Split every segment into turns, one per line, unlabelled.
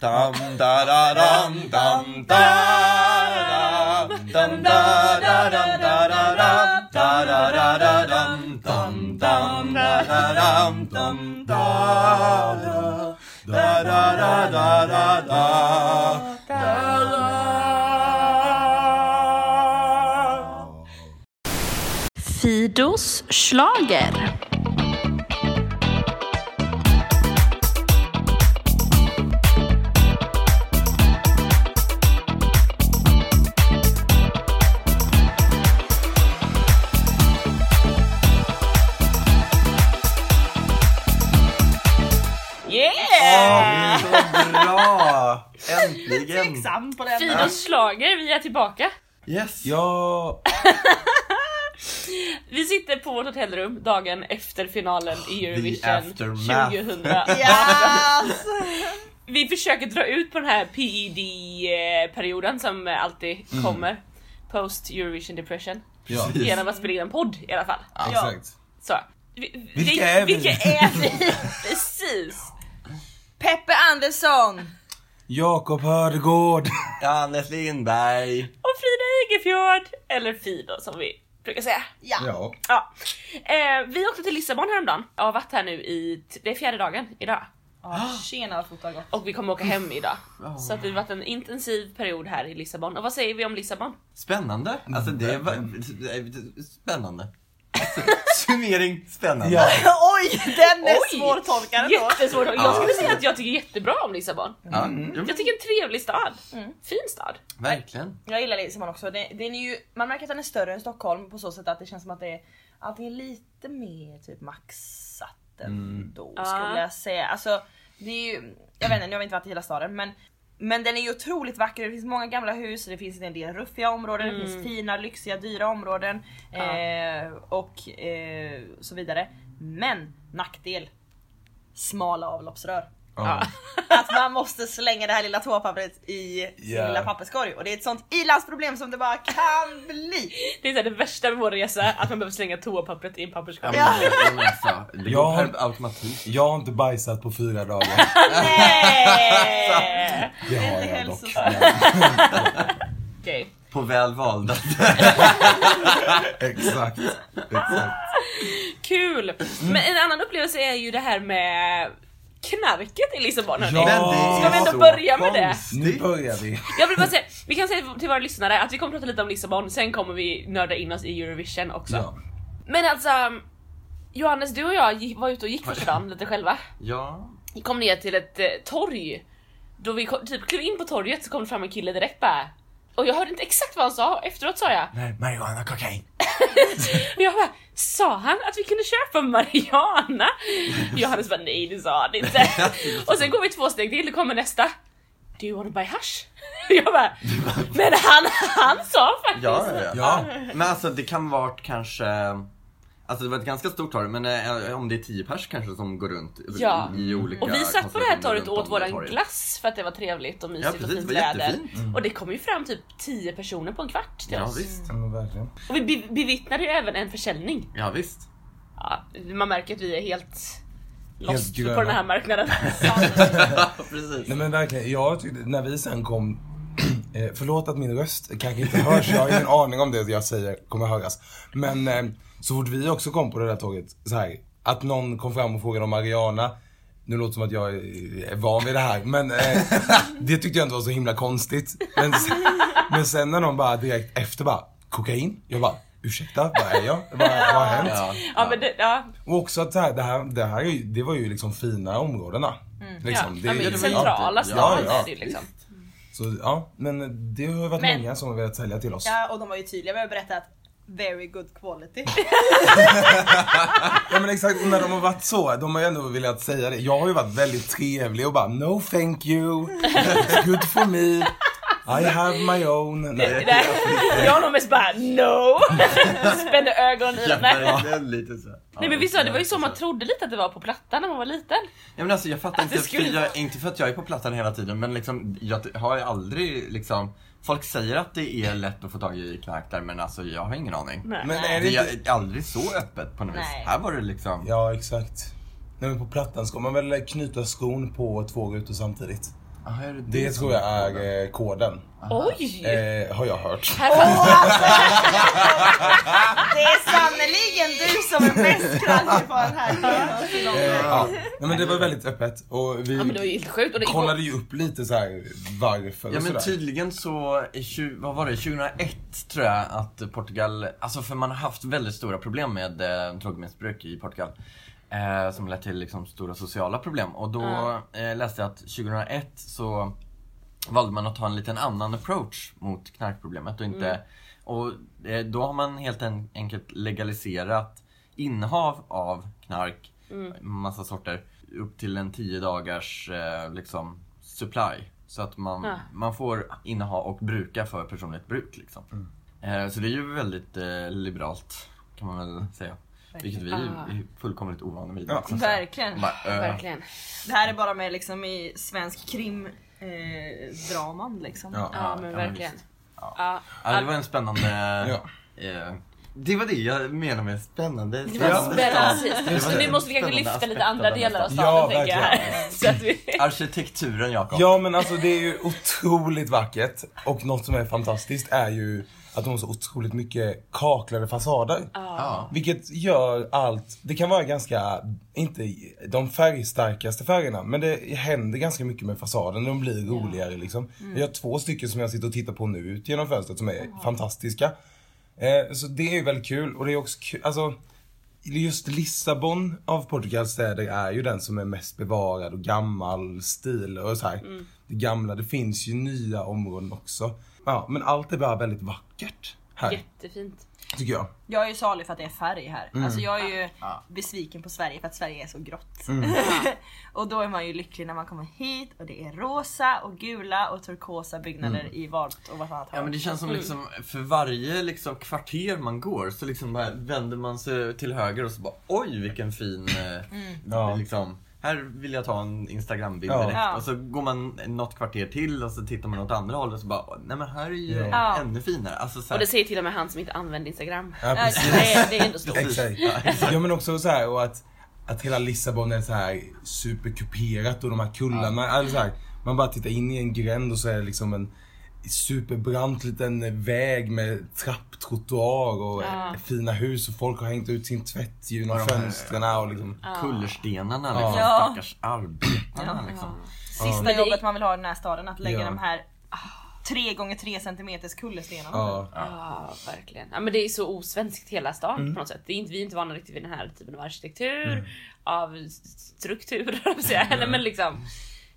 Dam, da, da, dam, dam, da, da, dam, da, da, dam, da, da, da, da, da, da, da, dam, dam, dam, da, da, dam, dam, da, da, da, da, da, da, da, da, da, da.
Fidos schlager.
Åh, er
Yeah!
så bra! Äntligen!
Sam på den.
Fidos schlager, vi är tillbaka.
Yes!
Ja,
Vi sitter på vårt hotellrum dagen efter finalen i Eurovision
aftermath.
2000.
Yes!
Vi försöker dra ut på den här PED-perioden som alltid
Mm.
kommer. Post Eurovision depression.
ja,
Precis.
Genom att spela in en podd i alla fall.
exakt.
Så. Vi,
Vilka är vi?
Vilka är vi? Precis!
Peppe Andersson!
Jakob Hördegård.
Anders Lindberg!
Och Frida Egefjord, eller Fido som vi brukar säga.
Ja.
Ja,
Ja. Eh, vi åkte till Lissabon häromdagen. Jag har varit här nu i, t- det är fjärde dagen idag.
Oh, tjena vad fort det har gått.
Och vi kommer åka hem idag. Så att det har varit en intensiv period här i Lissabon. Och vad säger vi om Lissabon?
Spännande! Alltså det
Mm.
var... Spännande. Summering, spännande.
ja.
Oj, den är
Oj!
svårtolkad ändå.
Jättesvårt. Jag skulle säga att jag tycker jättebra om Lissabon.
Ja,
Mm.
jo,
Jag tycker en trevlig stad. Fin stad.
verkligen.
Jag gillar Lissabon också. Den, den är ju, man märker att den är större än Stockholm på så sätt att det känns som att det är allting är lite mer typ maxat ändå skulle
Ja.
jag säga. Alltså, det är ju, jag vet inte, nu har vi inte varit i hela staden men men den är ju otroligt vacker, det finns många gamla hus, det finns en del ruffiga områden, det finns fina, lyxiga, dyra områden
Mm. Ja.
eh, och eh, så vidare. Men nackdel, smala avloppsrör
ja.
att man måste slänga det här lilla toapappret i sin
Ja.
lilla papperskorg och det är ett sånt ilandsproblem som det bara kan bli.
Det är så här det värsta med vår resa, att man behöver slänga toapappret i en papperskorg.
Ja, men, det- men alltså, det går
Ja.
per automatik.
Jag har inte bajsat på fyra dagar.
Eh!
Nej!
Det
är
har
inte
jag dock.
hälsosamt.
Okej.
På väl valda.
Exakt. Exakt.
Kul! Men en annan upplevelse är ju det här med knarket i Lissabon. hörni.
Ja.
Ska vi ändå börja med det?
Nu börjar vi.
Jag vill bara säga, vi kan säga till våra lyssnare att vi kommer prata lite om Lissabon, sen kommer vi nörda in oss i Eurovision också.
Ja.
Men alltså Johannes, du och jag gick- var ute och gick första dagen lite själva.
Ja.
Vi kom ner till ett eh, torg. Då vi kom, typ klev in på torget så kom det fram en kille direkt bara och jag hörde inte exakt vad han sa, efteråt sa jag.
Nej, marijuana, kokain.
Och jag bara, sa han att vi kunde köpa marijuana? Johannes bara, nej det sa han inte. Och sen går vi två steg till, då kommer nästa. Do you wanna buy hash? Och jag bara, men han, han sa faktiskt.
Ja, ja, ja.
Ja.
Men alltså det kan vart kanske Alltså det var ett ganska stort torg, men eh, om det är 10 pers kanske som går runt
Ja.
i olika
Och vi satt på det här torget
runt
och
om
åt våran
torget.
glass för att det var trevligt och mysigt
Ja, precis,
och
det
fint
var
väder.
jättefint. Mm.
Och det kom ju fram typ 10 personer på en kvart till
Ja
oss.
visst.
Ja, men verkligen.
Och vi be- bevittnade ju även en försäljning.
Ja, visst.
Ja, man märker att vi är helt lost
gröna.
på den här marknaden.
Ja, precis.
Nej men verkligen, jag tyckte, när vi sen kom eh, Förlåt att min röst kanske inte hörs, jag har ingen aning om det jag säger kommer höras. Men eh, så fort vi också kom på det där tåget, så här, att någon kom fram och frågade om Mariana nu låter det som att jag är van vid det här men eh, det tyckte jag inte var så himla konstigt. Men, sen- men sen när någon bara direkt efter bara, kokain? Jag bara, ursäkta, vad är jag? Vad, vad har hänt?
Ja.
ja, men det, ja,
Och också att det här, det här, det här är ju- det var ju liksom fina områdena. Liksom.
ja, men
är-
i
ja,
centrala
det-
stan
ja, ja.
är det ju liksom.
Så ja, men det har ju varit
Men-
många som har velat sälja till oss.
Ja, och de var ju tydliga med att berätta att very good quality.
Ja men exakt, när de har varit så, de har ju ändå velat säga det. Jag har ju varit väldigt trevlig och bara no thank you, it's good for me, I have my own. Nej.
Nej, jag och de mest bara no! Spände ögonen i
Ja,
dem. Nej.
verkligen lite så.
Nej men vi sa det var ju så man
tror.
trodde lite att det var på Plattan när man var liten.
Ja, men alltså, jag fattar
Att
inte,
det skulle-
för jag, inte för att jag är på plattan hela tiden, men liksom, jag t- har ju aldrig liksom Folk säger att det är lätt att få tag i knark där, men alltså jag har ingen aning.
Nej.
Men är det
Det
inte...
är aldrig så öppet på något vis.
Nej.
Här var det liksom...
Ja exakt. Nej men på plattan ska man väl knyta skon på två rutor samtidigt.
Ah, är det,
Det tror jag är eh, koden.
Oj!
Eh, har jag hört.
Här fanns
Det är sannerligen du som är mest krallig på den här.
Eh, Ja. Nej, men det var väldigt öppet och vi
Ja men det var ju helt sjukt. Och det
kollade ju upp lite så här varför
Ja
och
men typ
sådär.
tydligen så, i tju- vad var det, 2001 tror jag att Portugal, alltså för man har haft väldigt stora problem med eh, drogmissbruk i Portugal. Eh, som lett till liksom stora sociala problem. Och då eh, läste jag att 2001 så valde man att ta en liten annan approach mot knarkproblemet och inte... Och eh, då har man helt en, enkelt legaliserat innehav av knark,
Mm.
massa sorter, upp till en 10 dagars eh, liksom, supply. Så att man,
Ah.
man får inneha och bruka för personligt bruk. Liksom.
Mm.
Eh, så det är ju väldigt eh, liberalt, kan man väl säga. Vilket vi
Ah.
är fullkomligt ovana vid.
Ja.
liksom.
Verkligen.
Bara, eh,
Verkligen.
Det här är bara med liksom i svensk krim eh, draman liksom.
Ja.
Ja
ja,
men
men
verkligen.
visst. Ja.
Ja.
Ja, det var en spännande... eh, det var det jag menade med spännande.
Det var spännande.
Det
precis.
var
Så nu
en
måste vi kanske
spännande
lyfta
aspekt
lite andra
av den här
delar av
staden.
staden
Ja,
tänker jag här. Så att vi...
Arkitekturen Jakob.
Ja men alltså det är ju otroligt vackert och något som är fantastiskt är ju att de har så otroligt mycket kaklade fasader.
Ja.
Vilket gör allt, det kan vara ganska, inte de färgstarkaste färgerna men det händer ganska mycket med fasaden, de blir roligare liksom. Jag har två stycken som jag sitter och tittar på nu ut genom fönstret som är fantastiska. Eh, så det är ju väldigt kul och det är också kul, alltså Just Lissabon av Portugals städer är ju den som är mest bevarad och gammal stil och så här. Det gamla, det finns ju nya områden också. Ja, men allt är bara väldigt vackert här,
Jättefint.
tycker jag.
Jag är ju salig för att det är färg här.
Mm.
Alltså jag är ju
Ja.
besviken på Sverige för att Sverige är så grått.
Mm.
och då är man ju lycklig när man kommer hit och det är rosa och gula och turkosa byggnader
Mm.
i vart och vartannat
Ja
hörn.
men det känns som liksom, för varje liksom kvarter man går så liksom bara vänder man sig till höger och så bara oj vilken fin, eh,
Mm.
Ja.
liksom, här vill jag ta en instagrambild
Ja.
direkt.
Ja.
Och så går man något kvarter till och så tittar man åt andra hållet och så bara nej men här är ju
Ja.
ännu finare. Alltså, så
Och
här,
det säger till och med han som inte använder Instagram.
Ja,
Nej,
precis.
Det är, det är ändå stort.
precis.
Exakt. Ja men också så här och att, att hela Lissabon är så här superkuperat och de här kullarna, alltså så här, man bara tittar in i en gränd och så är det liksom en superbrant liten väg med trapptrottoar och
Ja.
fina hus och folk har hängt ut sin tvätt
Ja,
genom
de här-
fönstren och liksom.
kullerstenarna liksom,
Ja.
stackars arbetarna liksom.
Sista
Men det är-
jobbet man vill ha i den här staden, att lägga
Ja.
de här 3 gånger 3 centimeters kullerstenarna.
Ja.
Ja, verkligen. Ja, men det är så osvenskt hela stan
Mm.
på något sätt. Det är inte, vi är inte vana riktigt vid den här typen av arkitektur, av s- strukturer, höll jag på att säga. Eller, men liksom.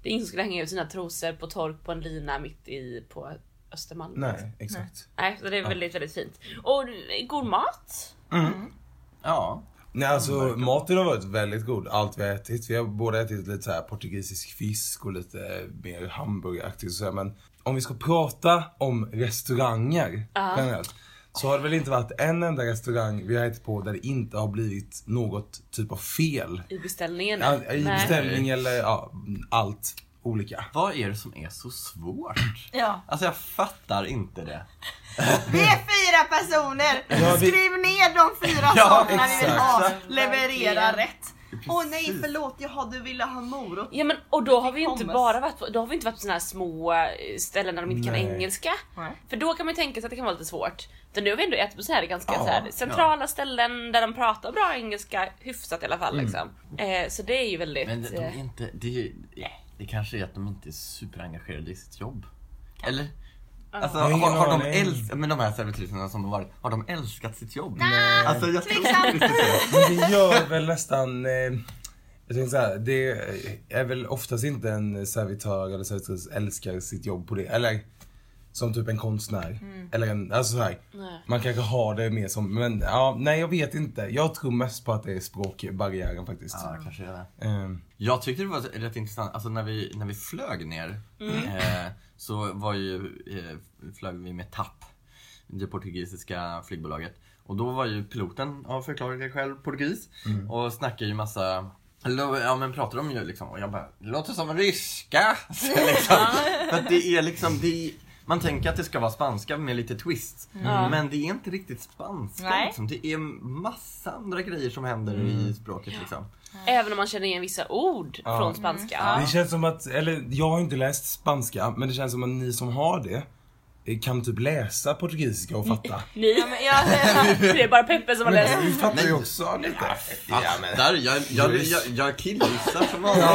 Det är ingen som skulle hänga ut sina trosor på tork på en lina mitt i på Östermalm.
Nej, exakt.
Nej, så det är väldigt, väldigt fint. Och god mat.
Ja.
Nej alltså maten har varit väldigt god, allt vi har ätit. Vi har båda ätit lite så här portugisisk fisk och lite mer hamburgeraktigt och så här. men om vi ska prata om restauranger generellt. Så har det väl inte varit en enda restaurang vi har ätit på där det inte har blivit något typ av fel.
I beställningen.
Ja, I
Nej.
beställning eller ja, allt olika.
Vad är det som är så svårt?
Ja.
Alltså jag fattar inte det.
Vi är fyra personer!
Ja, vi-
Skriv ner de fyra
Ja,
sakerna vi vill
exakt.
ha.
Exakt.
Leverera
Verkligen.
rätt. Åh nej
Precis.
förlåt, jaha du ville ha morot.
Ja men och då har vi ju inte
Pommes.
bara varit på, då har vi inte varit på såna här små eh, ställen där de inte
Nej.
kan engelska.
Nej.
För då kan man ju tänka sig att det kan vara lite svårt. Utan nu har vi ändå ätit på så här ganska
Ja,
så här, centrala ställen där de pratar bra engelska, hyfsat i alla
Mm.
fall liksom. Eh, så det är ju väldigt...
Men de är
eh,
inte, det, är ju- det kanske är att de inte är superengagerade i sitt jobb. Eller? Alltså,
Jag har ingen
har, har de
aning.
älskat, men de här servitriserna som har varit, har de älskat sitt jobb? Alltså jag tror
Tveksamt.
inte det.
Men det gör väl nästan... Eh, jag tänkte så här, det är väl oftast inte en servitör eller servitris älskar sitt jobb på det. Eller som typ en konstnär. Eller en, alltså så här,
Mm. Nej.
Man kanske har det mer som, men ja, nej jag vet inte. Jag tror mest på att det är språkbarriären faktiskt.
Ja, kanske är det.
Ehm,
Jag tyckte det var rätt intressant, alltså när vi, när vi flög ner eh, så var ju, eh, flög vi med TAP, det portugisiska flygbolaget. Och då var ju piloten av förklarade själv portugis och snackade ju massa eller, Ja men pratar de ju liksom och jag bara, det låter som ryska! Så liksom, för att det är liksom, det är, man tänker att det ska vara spanska med lite twist. Men det är inte riktigt spanska
Nej.
liksom. Det är massa andra grejer som händer i språket liksom.
Även om man känner igen vissa ord från spanska.
Mm.
Det känns som att, eller jag har inte läst spanska, men det känns som att ni som har det eh, kan typ läsa portugisiska och fatta.
Ni,
Ja, men jag,
det är bara Peppe som har läst.
Vi fattar ju också lite. Ja, men-
Där, jag, jag, jag, jag killgissar som vanligt.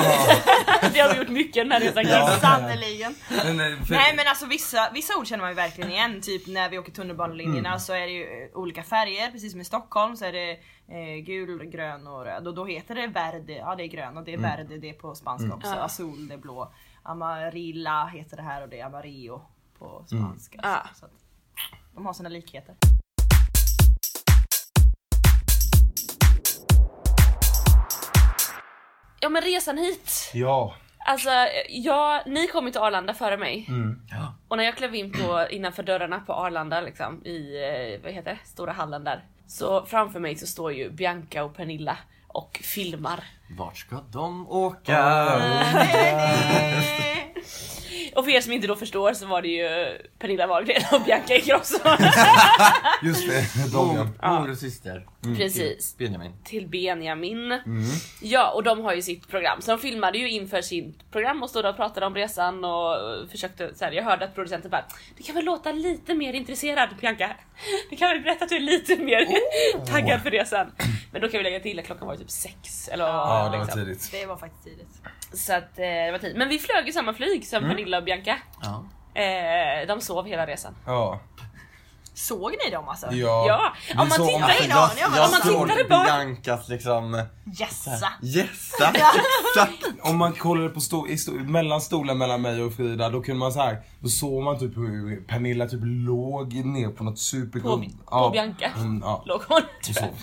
Det har vi gjort mycket den här resan.
Ja.
sannerligen.
Men, eh, för-
Nej men alltså vissa, vissa ord känner man ju verkligen igen, typ när vi åker tunnelbanelinjerna så är det ju eh, olika färger, precis som i Stockholm så är det eh, gul, grön och röd och då heter det verde, ja det är grön och det är verde det är på spanska också,
Ja.
azul det är blå, amarilla heter det här och det är amarillo på spanska.
Ja.
Så, så att de har sina likheter.
Ja men resan hit.
Ja.
Alltså jag, ni kom ju till Arlanda före mig.
Ja.
Och när jag klev in på, innanför dörrarna på Arlanda liksom i, eh, vad heter det, stora hallen där. Så framför mig så står ju Bianca och Pernilla och filmar.
Vart ska de åka?
Och för er som inte då förstår så var det ju Pernilla Wahlgren och Bianca Ingrosso.
Just det, de ja.
Mor mor och syster.
Precis.
Mm, Benjamin.
till Benjamin.
Mm.
Ja, och de har ju sitt program. Så de filmade ju inför sitt program och stod där och pratade om resan och eh, försökte så här, Jag hörde att producenten bara, du kan väl låta lite mer intresserad Bianca? Du kan väl berätta att du är lite mer
Oh.
taggad för resan? Men då kan vi lägga till att klockan var typ sex eller
Ja, det var
liksom.
tidigt.
Det var faktiskt tidigt.
Så att eh, det var tid. Men vi flög i samma flyg
Mm.
som Pernilla och Bianca.
Ja.
Eh, de sov hela resan.
Ja.
Såg ni dem alltså?
Ja.
Ja,
Vi
om man
såg-
tittar i
ingen
jag
aning om vad-
jag
om man
såg
tittar i bak-
Biancas liksom
Jessa!
gässa. Exakt.
Om man kollade på sto, i sto, mellan stolen mellan mig och Frida, då kunde man så här, då såg man typ hur Pernilla typ låg ner på något supergott.
På- på Bianca.
Mm, ja.
låg hon
Och
tyvärr.
sov.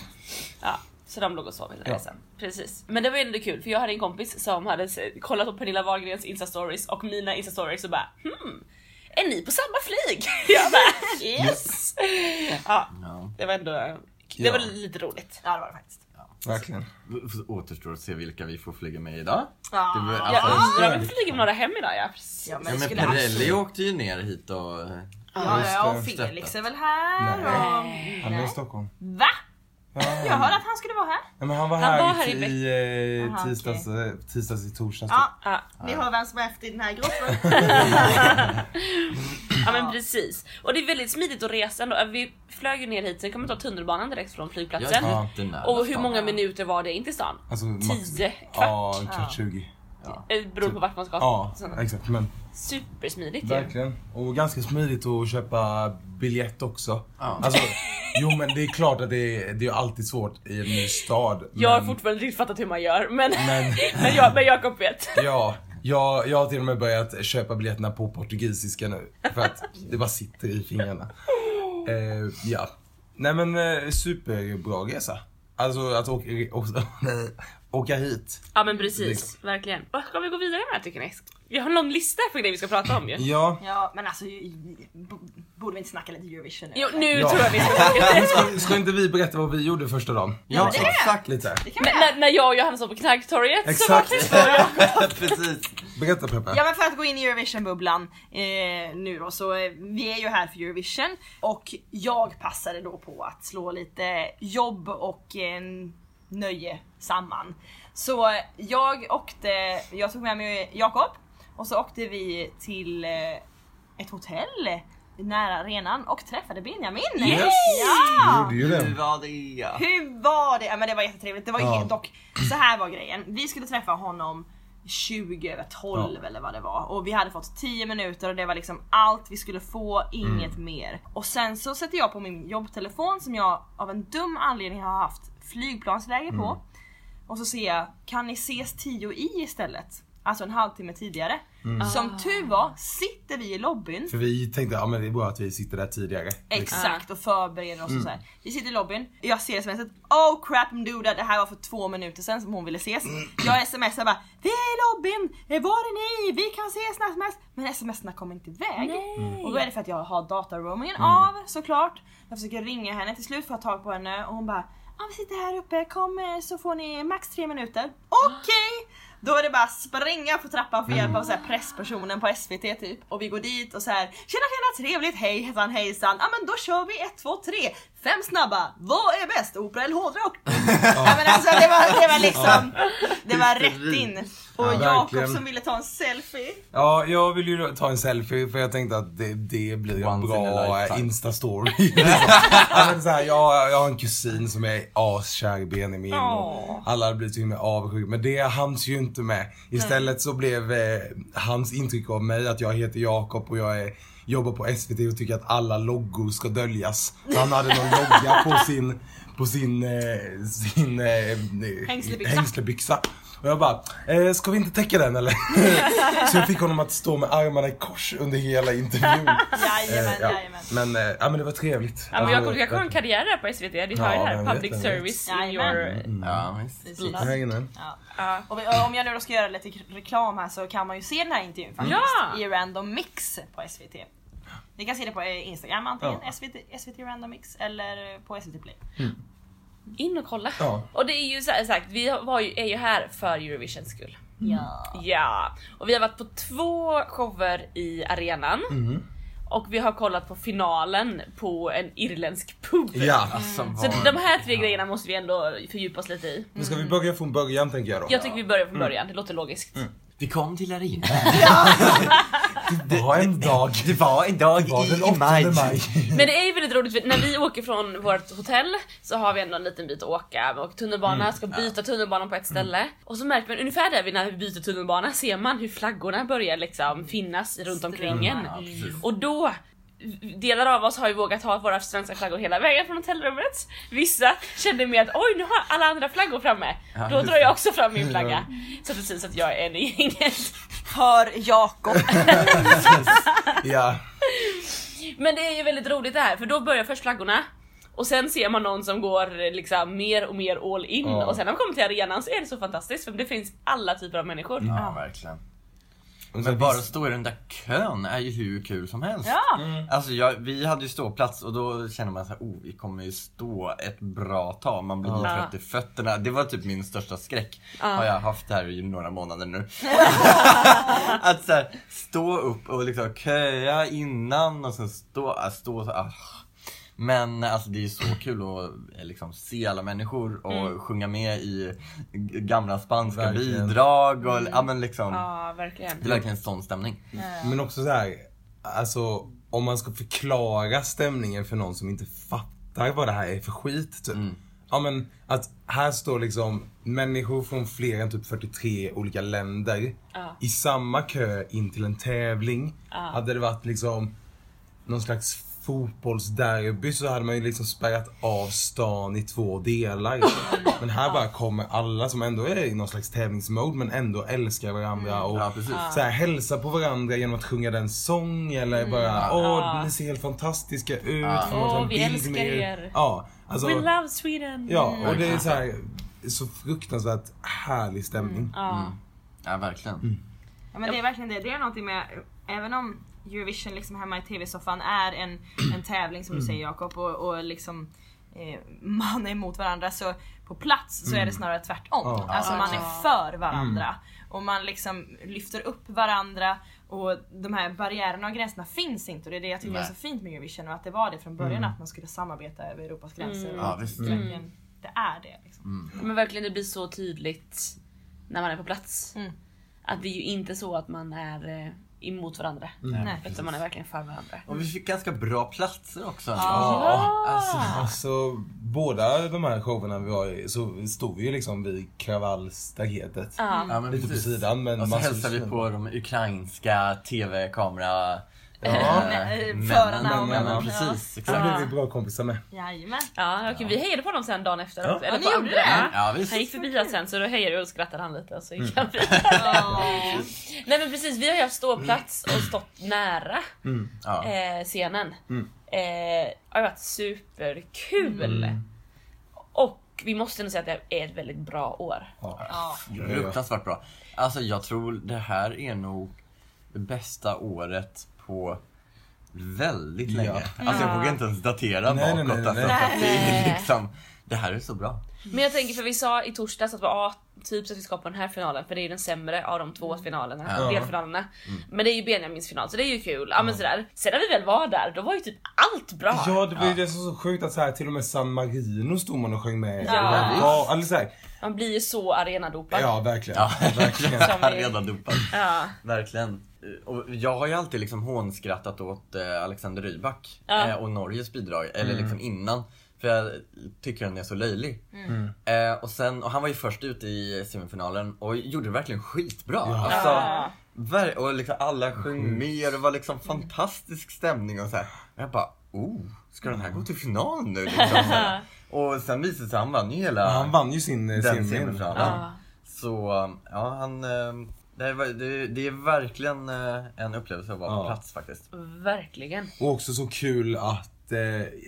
Ja, så de låg och sov hela
Ja.
resan. Precis. Men det var ju ändå kul för jag hade en kompis som hade se- kollat på Pernilla Wahlgrens instastories och mina instastories och bara hmm, är ni på samma flyg? Jag bara yes! Ja,
Ja.
det var ändå det
Ja.
var lite roligt.
Ja det var det faktiskt.
Verkligen.
Så Återstår att se vilka vi får flyga med idag.
Ja.
Det blir-
Jag
alltså,
undrar om vi flyger med några hem idag? Ja, precis.
Ah, Ja men,
Ja,
det
men
skulle
Perrelli
absolut...
åkte ju ner hit och... eh,
Ja,
Just
ja,
det.
och Felix är väl här och...
Nej.
Han var i Stockholm.
Va?
Ja.
Jag hörde att han skulle vara här.
Nej, men han var
Han
här,
var här
i,
i veck-
i, eh,
Aha, okej.
tisdags, eh, tisdags i torsdags. typ.
Ja,
Ja,
ni hör vem som är efter i den här gruppen.
ja men precis. Och det är väldigt smidigt att resa ändå. Vi flög ju ner hit, sen kan man ta tunnelbanan direkt från flygplatsen.
Ja.
jättenära
Och hur
stan.
många minuter var det in till stan?
Alltså, max-
Tio, kvart?
Ja, en kvart 20.
Eh, Beroende på vart man ska.
Typ. Ja,
Så-
exakt. Men
Supersmidigt ju.
verkligen. Och ganska smidigt att köpa biljett också.
Ja.
Alltså, jo men det är klart att det är, det är alltid svårt i en ny stad.
Jag har
men-
fortfarande inte riktigt fattat hur man gör men,
Men-
men. jag, men Jakob vet.
Ja, jag, jag har till och med börjat köpa biljetterna på portugisiska nu. För att det bara sitter i fingrarna. Eh, ja. Nej men eh, superbra resa. Alltså att åka, åka, åka hit.
Ja men precis, verkligen. Vad ska vi gå vidare med tycker ni? Vi har en lång lista på grejer vi ska prata om ju.
Ja.
Ja, men alltså ju- ju- bo- borde vi inte snacka lite Eurovision nu?
Jo nu
Ja.
tror jag vi ska
Men Ska, ska inte vi berätta vad vi gjorde första dagen?
Ja,
det är-
exakt.
Lite.
Det kan vi
Men
göra.
när, när jag och Johannes var på Knaggtorget så var
Exakt.
det så jag...
Precis.
Berätta Peppe.
Ja men för att gå in i Eurovision-bubblan eh, nu då så eh, vi är ju här för Eurovision och jag passade då på att slå lite jobb och eh, nöje samman. Så eh, jag åkte, jag tog med mig Jakob och så åkte vi till eh, ett hotell nära arenan och träffade Benjamin.
Yes! Vi
Ja!
gjorde ju
Hur
det.
var det?
Hur var det? Ja, men det var jättetrevligt. Det var
Ja.
ja. dock, så här var grejen. Vi skulle träffa honom 20 över 12 eller vad det var och vi hade fått 10 minuter och det var liksom allt vi skulle få, inget mer. Och sen så sätter jag på min jobbtelefon som jag av en dum anledning har haft flygplansläge på. Och så ser jag, kan ni ses 10 i istället? Alltså en halvtimme tidigare. Som tur var sitter vi i lobbyn
För vi tänkte, ja men det är bra att vi sitter där tidigare.
Exakt och förbereder oss och så här. Vi sitter i lobbyn, jag ser smset, oh crap Mduda det här var för två minuter sedan som hon ville ses. Jag smsar bara, vi är i lobbyn, Eh, var är ni? Vi kan ses när som helst. Men smsarna kommer inte iväg. Och då är det för att jag har dataroamingen av såklart. Jag försöker ringa henne till slut för att ta tag på henne och hon bara, ah, vi sitter här uppe, kom eh, så får ni max tre minuter. Okej! Då är det bara springa på trappan för hjälp av så här presspersonen på SVT typ. Och vi går dit och så här tjena tjena trevligt hej hejsan hejsan. Ja men då kör vi 1, 2, 3. Fem snabba, vad är bäst? Opera eller hårdrock? ja, men alltså det var, det var liksom, det var rätt in. Och
Ja,
Jakob
verkligen.
som ville ta en selfie.
Ja, jag vill ju ta en selfie för jag tänkte att det, det blir en
Once in a
bra
lifetime.
Insta-story. liksom. Ja, men så här, jag, jag har en kusin som är askär i Benjamin
Åh.
och alla blir till och med avundsjuka. Men det hanns ju inte med. Istället så blev eh, hans intryck av mig att jag heter Jakob och jag är, jobbar på SVT och tycker att alla loggor ska döljas. Så han hade någon logga på sin på sin, eh, sin eh,
Hängslebyxa.
hängslebyxa. Och jag bara, eh, ska vi inte täcka den eller? så jag fick honom att stå med armarna i kors under hela intervjun.
Jajamän,
Eh, ja.
jajamän.
Men, eh, ja, men det var trevligt.
Ja, men jag
Alltså,
kommer- jag kommer ha en karriär här på SVT, du hör
Ja,
det
jag
här.
vet,
Public
jag vet.
service in
Jajamän.
your...
Ja, visst.
Precis.
alltså.
här inne.
Ja.
Ja.
Och vi- om jag nu då ska göra lite reklam här så kan man ju se den här intervjun faktiskt
Ja!
i Random Mix på SVT. Ni kan se det på eh, Instagram antingen
Ja.
SVT, SVT Random Mix eller eh, på SVT Play.
In och kolla.
Ja.
Och det är ju så här sagt, vi har- var ju, är ju här för Eurovisions skull.
Ja.
Ja, och vi har varit på två shower i arenan.
Mm.
Och vi har kollat på finalen på en irländsk pub.
Ja.
Alltså,
Så
vad-
de här tre grejerna måste vi ändå fördjupa oss lite i.
Men ska vi börja från början tänker jag då?
Jag tycker vi börjar
Mm.
från början, det låter logiskt.
Vi kom till arenan.
Det var en dag.
Det var en dag
Det var den
i, i
8
maj.
maj.
Men det är ju väldigt roligt för när vi åker från vårt hotell så har vi ändå en liten bit att åka och
Mm.
tunnelbana, ska byta tunnelbanan på ett ställe. Och så märker man ungefär där vid när vi byter tunnelbana ser man hur flaggorna börjar liksom finnas runt omkring en.
Ja, precis.
Och då Delar av oss har ju vågat ha våra svenska flaggor hela vägen från hotellrummet. Vissa kände mer att oj nu har alla andra flaggor framme.
Ja,
Då
just
drar jag också fram min flagga. Så precis att jag är en i gänget.
För Jakob.
Ja.
Men det är ju väldigt roligt det här för då börjar först flaggorna och sen ser man någon som går eh, liksom mer och mer all in
Ja.
och sen när man kommer till arenan så är det så fantastiskt för det finns alla typer av människor.
Ja, verkligen.
Men
Men bara att stå i den där kön är ju hur kul som helst.
Ja.
Alltså jag, vi hade ju ståplats och då kände man så här, oh vi kommer ju stå ett bra tag, man blir
Ja.
trött i fötterna. Det var typ min största skräck, har jag haft här i några månader nu. att så här, stå upp och liksom köa innan och sen stå, ah, stå så ah. Men alltså det är ju så kul att eh, liksom, se alla människor och sjunga med i g- gamla spanska
Verkligen.
bidrag och ja, men liksom,
Ja verkligen.
det är verkligen en sån stämning.
Men också så här, alltså om man ska förklara stämningen för någon som inte fattar vad det här är för skit typ.
Mm.
Ja men att här står liksom människor från fler än typ 43 olika länder
Ja.
i samma kö in till en tävling. Hade det varit liksom någon slags fotbollsderby så hade man ju liksom spärrat av stan i två delar. Men här bara kommer alla som ändå är i någon slags tävlingsmode men ändå älskar varandra och
Mm. Ja, precis.
så här, hälsa på varandra genom att sjunga den sång eller bara åh ni ser helt fantastiska ut. Får man ta
Mm.
en
Åh, vi
bild
älskar
med
er.
Ja, alltså,
We love Sweden!
ja och det är så här så fruktansvärt härlig stämning.
Ja.
Ja, verkligen.
Mm.
Ja, men det är verkligen det. Det är någonting med, även om Eurovision liksom hemma i TV-soffan är en, en tävling som du
Mm.
säger Jakob och, och liksom eh, man är mot varandra så på plats så är det
Mm.
snarare tvärtom.
Ja.
Alltså man
Ja.
är för varandra och man liksom lyfter upp varandra och de här barriärerna och gränserna finns inte och det är det jag tycker är
Nej. Mm.
så fint med Eurovision och att det var det från början att man skulle samarbeta över Europas gränser. Och
Ja,
att
visst.
det
Mm.
verkligen- Det är det. Liksom.
Men verkligen det blir så tydligt när man är på plats.
Mm.
Att det är ju inte så att man är eh, emot varandra.
Mm.
Nej.
Utan man är verkligen för varandra.
Och vi fick ganska bra platser också.
Ja.
Alltså,
Alltså båda de här showerna vi var i så stod vi ju liksom vid kravallstaketet.
Ja.
ja, men
Lite på
precis.
sidan men
Och så
man-
hälsade vi på de ukrainska tv-kamera...
Nej, eh, förarna och
Ja,
männen.
men precis.
Så
Exakt.
blev vi bra kompisar med.
Jajamän.
Ja, okej, vi hejade på dem sen dagen efter. också,
Ja,
Eller
ni
på
gjorde
andra.
det?
Ja.
Ja, visst.
Han gick förbi oss sen så då hejade vi och skrattade han lite och så gick han förbi.
Ja.
Nej men precis, vi har ju haft ståplats
Mm.
och stått nära
Ja.
eh, scenen.
Mm.
Eh, det har varit superkul!
Mm.
Och vi måste nog säga att det är ett väldigt bra år.
Ja.
Ja.
Fruktansvärt bra. Alltså jag tror det här är nog det bästa året på väldigt
Ja.
länge. Alltså jag vågar inte ens datera
Nej, nej, nej,
bakåt. Alltså,
nej.
för att det, är liksom, det här är så bra.
Men jag tänker för vi sa i torsdags att det var typ så att vi ska på den här finalen för det är ju den sämre av de två finalerna,
Ja. Mm.
delfinalerna. Men det är ju Benjamins final så det är ju kul. Ja, men sådär. Sen när vi väl var där då var ju typ allt bra.
Ja, det var ju det som var så sjukt att så här, till och med San Marino stod man och sjöng med.
Ja.
ja eller så här,
Man blir ju så arenadopad.
ja verkligen.
Ja,
verkligen.
Som vi-
redan dopad.
Ja.
Verkligen. Eh, Och jag har ju alltid liksom hånskrattat åt eh, Alexander Rybak
Ja.
eh, och Norges bidrag, eller
Mm.
liksom innan. För jag tycker den är så löjlig.
Mm.
Eh, och, sen, och han var ju först ut i semifinalen och gjorde det verkligen skitbra.
Ja.
Alltså,
Ja.
ver- och liksom alla sjöng med och det var liksom fantastisk stämning och så här. Och jag bara, oh, ska den här gå till final nu? Liksom, så här. och sen visade det sig, han vann ju hela
Han vann ju sin eh,
den
semifinal.
semifinalen.
Ja.
Så ja, han, eh, det, är, det, det är verkligen eh, en upplevelse att vara på
Ja.
plats faktiskt.
Verkligen.
Och också så kul att, eh,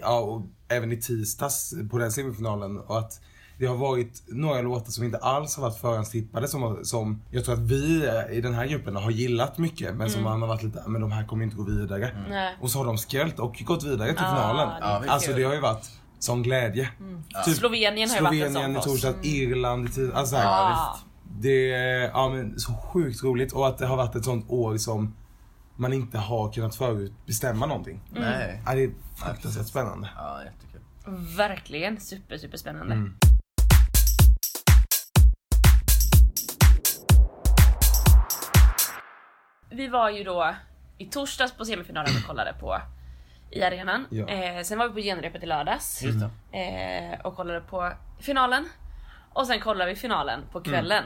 ja, och även i tisdags på den semifinalen, och att det har varit några låtar som inte alls har varit förhandstippade som, har- som jag tror att vi eh, i den här gruppen har gillat mycket men som man har varit lite, "Ah, men de här kommer inte gå vidare.
Nej.
Och så har de skrällt och gått vidare till
Ah,
finalen.
det är
alltså
kul. Mm.
det har ju varit sån glädje. Typ
Slovenien har ju varit en sån
Slovenien i
för oss.
torsdags, Irland i tisdags. Alltså,
Ja,
här,
visst.
det är ja, men, så sjukt roligt och att det har varit ett sånt år som man inte har kunnat förutbestämma någonting.
Mm.
Nej.
Ja, det är fruktansvärt spännande.
Ja, jättekul.
Verkligen super super spännande. Vi var ju då i torsdags på semifinalen och kollade på i arenan.
Ja.
Eh, sen var vi på genrepet i lördags
Just det.
eh, och kollade på finalen. Och sen kollade vi finalen på kvällen.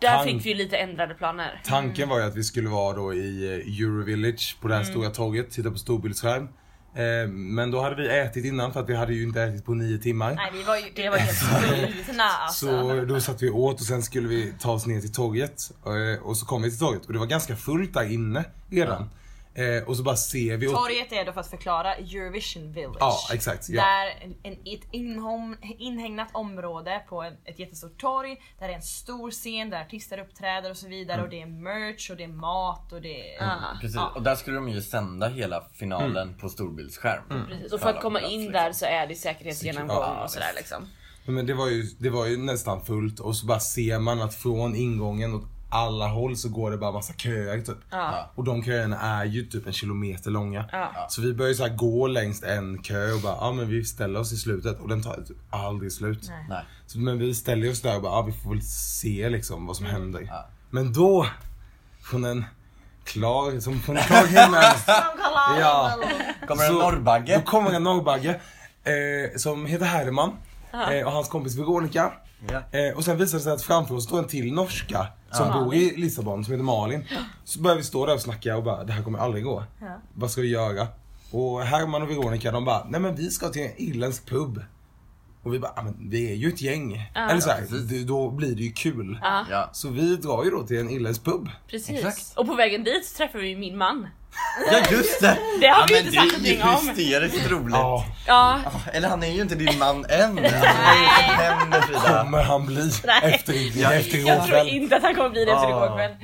Där
Pang.
fick vi ju lite ändrade planer.
Tanken var ju att vi skulle vara då i eh, Eurovillage på det här
Mm.
stora torget, titta på storbildsskärm. Eh, men då hade vi ätit innan för att vi hade ju inte ätit på nio timmar.
Nej vi var ju, det var helt sjukt alltså.
Så då satt vi och åt och sen skulle vi ta oss ner till torget. Eh, Och så kom vi till torget och det var ganska fullt där inne redan. Eh, Och så bara ser vi... åt-
Torget är då för att förklara Eurovision Village.
Ja, exakt, ja.
Där en, en, ett inhom, inhägnat område på en, ett jättestort torg. Där det är en stor scen där artister uppträder och så vidare. Och det är merch och det är mat och det är...
Ah,
Precis, och där skulle de ju sända hela finalen på storbildsskärm.
precis. Och för att
alla
komma
på plats,
in
liksom.
där så är det säkerhetsgenomgång
Ja,
och sådär liksom.
Men det var, ju, det var ju nästan fullt och så bara ser man att från ingången åt alla håll så går det bara massa köer typ.
Ja.
Och de köerna är ju typ en kilometer långa.
Ja.
Så vi börjar ju så här gå längst en kö och bara, ja men vi ställer oss i slutet och den tar typ aldrig slut.
Nej.
Så, men vi ställer oss där och bara, ja vi får väl se liksom vad som händer.
Mm. Ja.
Men då, från en klar, som från en klar himmel. Ja.
Kommer en
Så- Då
norrbagge?
kommer en norrbagge eh, som heter Herman eh, och hans kompis Veronica.
Ja.
Eh, och sen visade det sig att framför oss står en till norska som bor i Lissabon som heter Malin. Så började vi stå där och snacka och bara det här kommer aldrig gå. Vad ska vi göra? Och Herman och Veronica de bara nej men vi ska till en irländsk pub. Och vi bara "Ah, men vi är ju ett gäng. Eller så här,
Ja, precis.
det- då blir det ju kul.
Ja.
Så vi drar ju då till en irländsk pub.
Precis.
Exakt.
Och på vägen dit träffar vi min man.
ja, just det!
Det har
ja,
vi
men
inte
det är
sagt
ju
någonting om.
hysteriskt roligt.
Ja,
Ja,
Eller han är ju inte din man än. Alltså, det är ju hem nu, Frida.
kommer han bli efter,
Ja.
efter
jag tror
igår
inte att han kommer bli det efter
Ah.
igår kväll.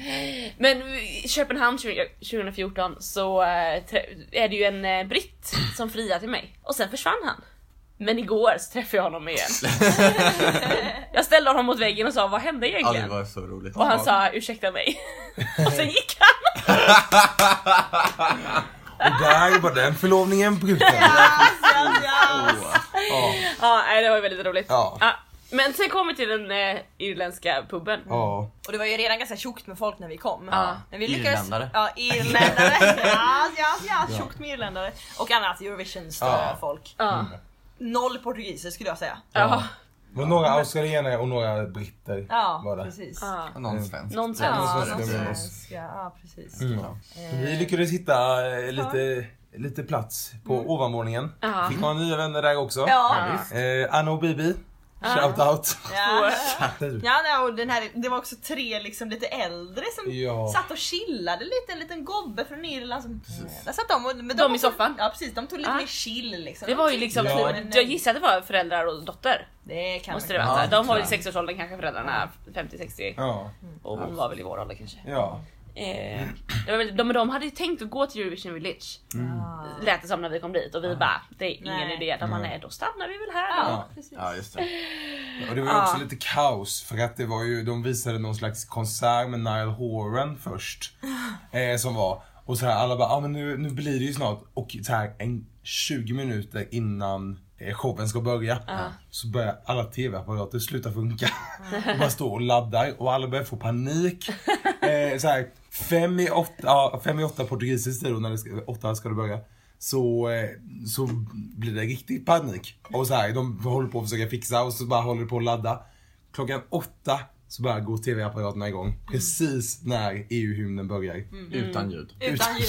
Men i Köpenhamn 20- 2014 så eh, trä- är det ju en eh, britt som friar till mig och sen försvann han. Men igår så träffade jag honom igen. jag ställde honom mot väggen och sa vad hände
Ja, det
egentligen?
var så roligt.
Och han sa ursäkta mig. och sen gick han.
Och där var den förlovningen bruten. Ja.
Ja, nej, det var väldigt roligt.
Ja.
Men sen kommer vi till den eh, irländska puben.
Ja.
Och det var ju redan ganska tjockt med folk när vi kom.
Ja.
Men vi lyckades,
Irländare.
Ja, irländare. ja, ja, ja, tjockt med irländare. Och annat
Ja.
Eurovision-folk.
Mm.
Ja.
Noll portugiser skulle jag säga.
Ja.
Det var några australienare och några britter. var
Ja,
det.
precis.
Ja.
Och Någon svensk.
Någon svensk.
Ja,
svensk.
någon
Det var oss. Mm.
svensk. Ja, ja, precis.
Vi lyckades hitta eh, lite, lite plats på ovanvåningen.
Ja.
Fick några nya vänner där också.
Mm. Ja.
Eh, Anna och Bibi. Shout out.
Ja.
Du.
Ja, nej, och den här, det var också tre liksom lite äldre som
Ja.
satt och chillade lite, en liten gobbe från Irland som... Där satt de och, men de
De i
också-
soffan?
Ja precis, de tog lite
Ah.
mer chill liksom.
Det var ju liksom,
Ja.
två- jag gissar att det var föräldrar och dotter.
Det kan
Måste
man-
det vara.
Ja,
de var
tror
väl i
jag.
sexårsåldern kanske föräldrarna, 50-60.
Ja.
Och hon var väl i vår ålder kanske.
ja.
Eh, det var väl, de, men de hade ju tänkt att gå till Eurovision Village. lät det som när vi kom dit och vi bara, det är ingen
Nej.
idé. De bara, nej då stannar vi väl här då.
Ja, precis.
Ja, just det.
Och det var ju också lite kaos för att det var ju, de visade någon slags konsert med Niall Horan först. Eh, som var, och så här alla bara, ah, men nu, nu blir det ju snart. Och så här en 20 minuter innan eh, showen ska börja så börjar alla tv-apparater sluta funka. Och bara står och laddar och alla börjar få panik. Eh, så här, fem i åtta, ja, fem i åtta portugisisk tid då, när det ska, åtta ska det börja så, eh, så blir det riktig panik. Och så här, de håller på att försöka fixa och så bara håller det på att ladda. Klockan åtta så bara går tv-apparaterna igång precis när EU-hymnen börjar.
Utan ljud.
Utan ljud.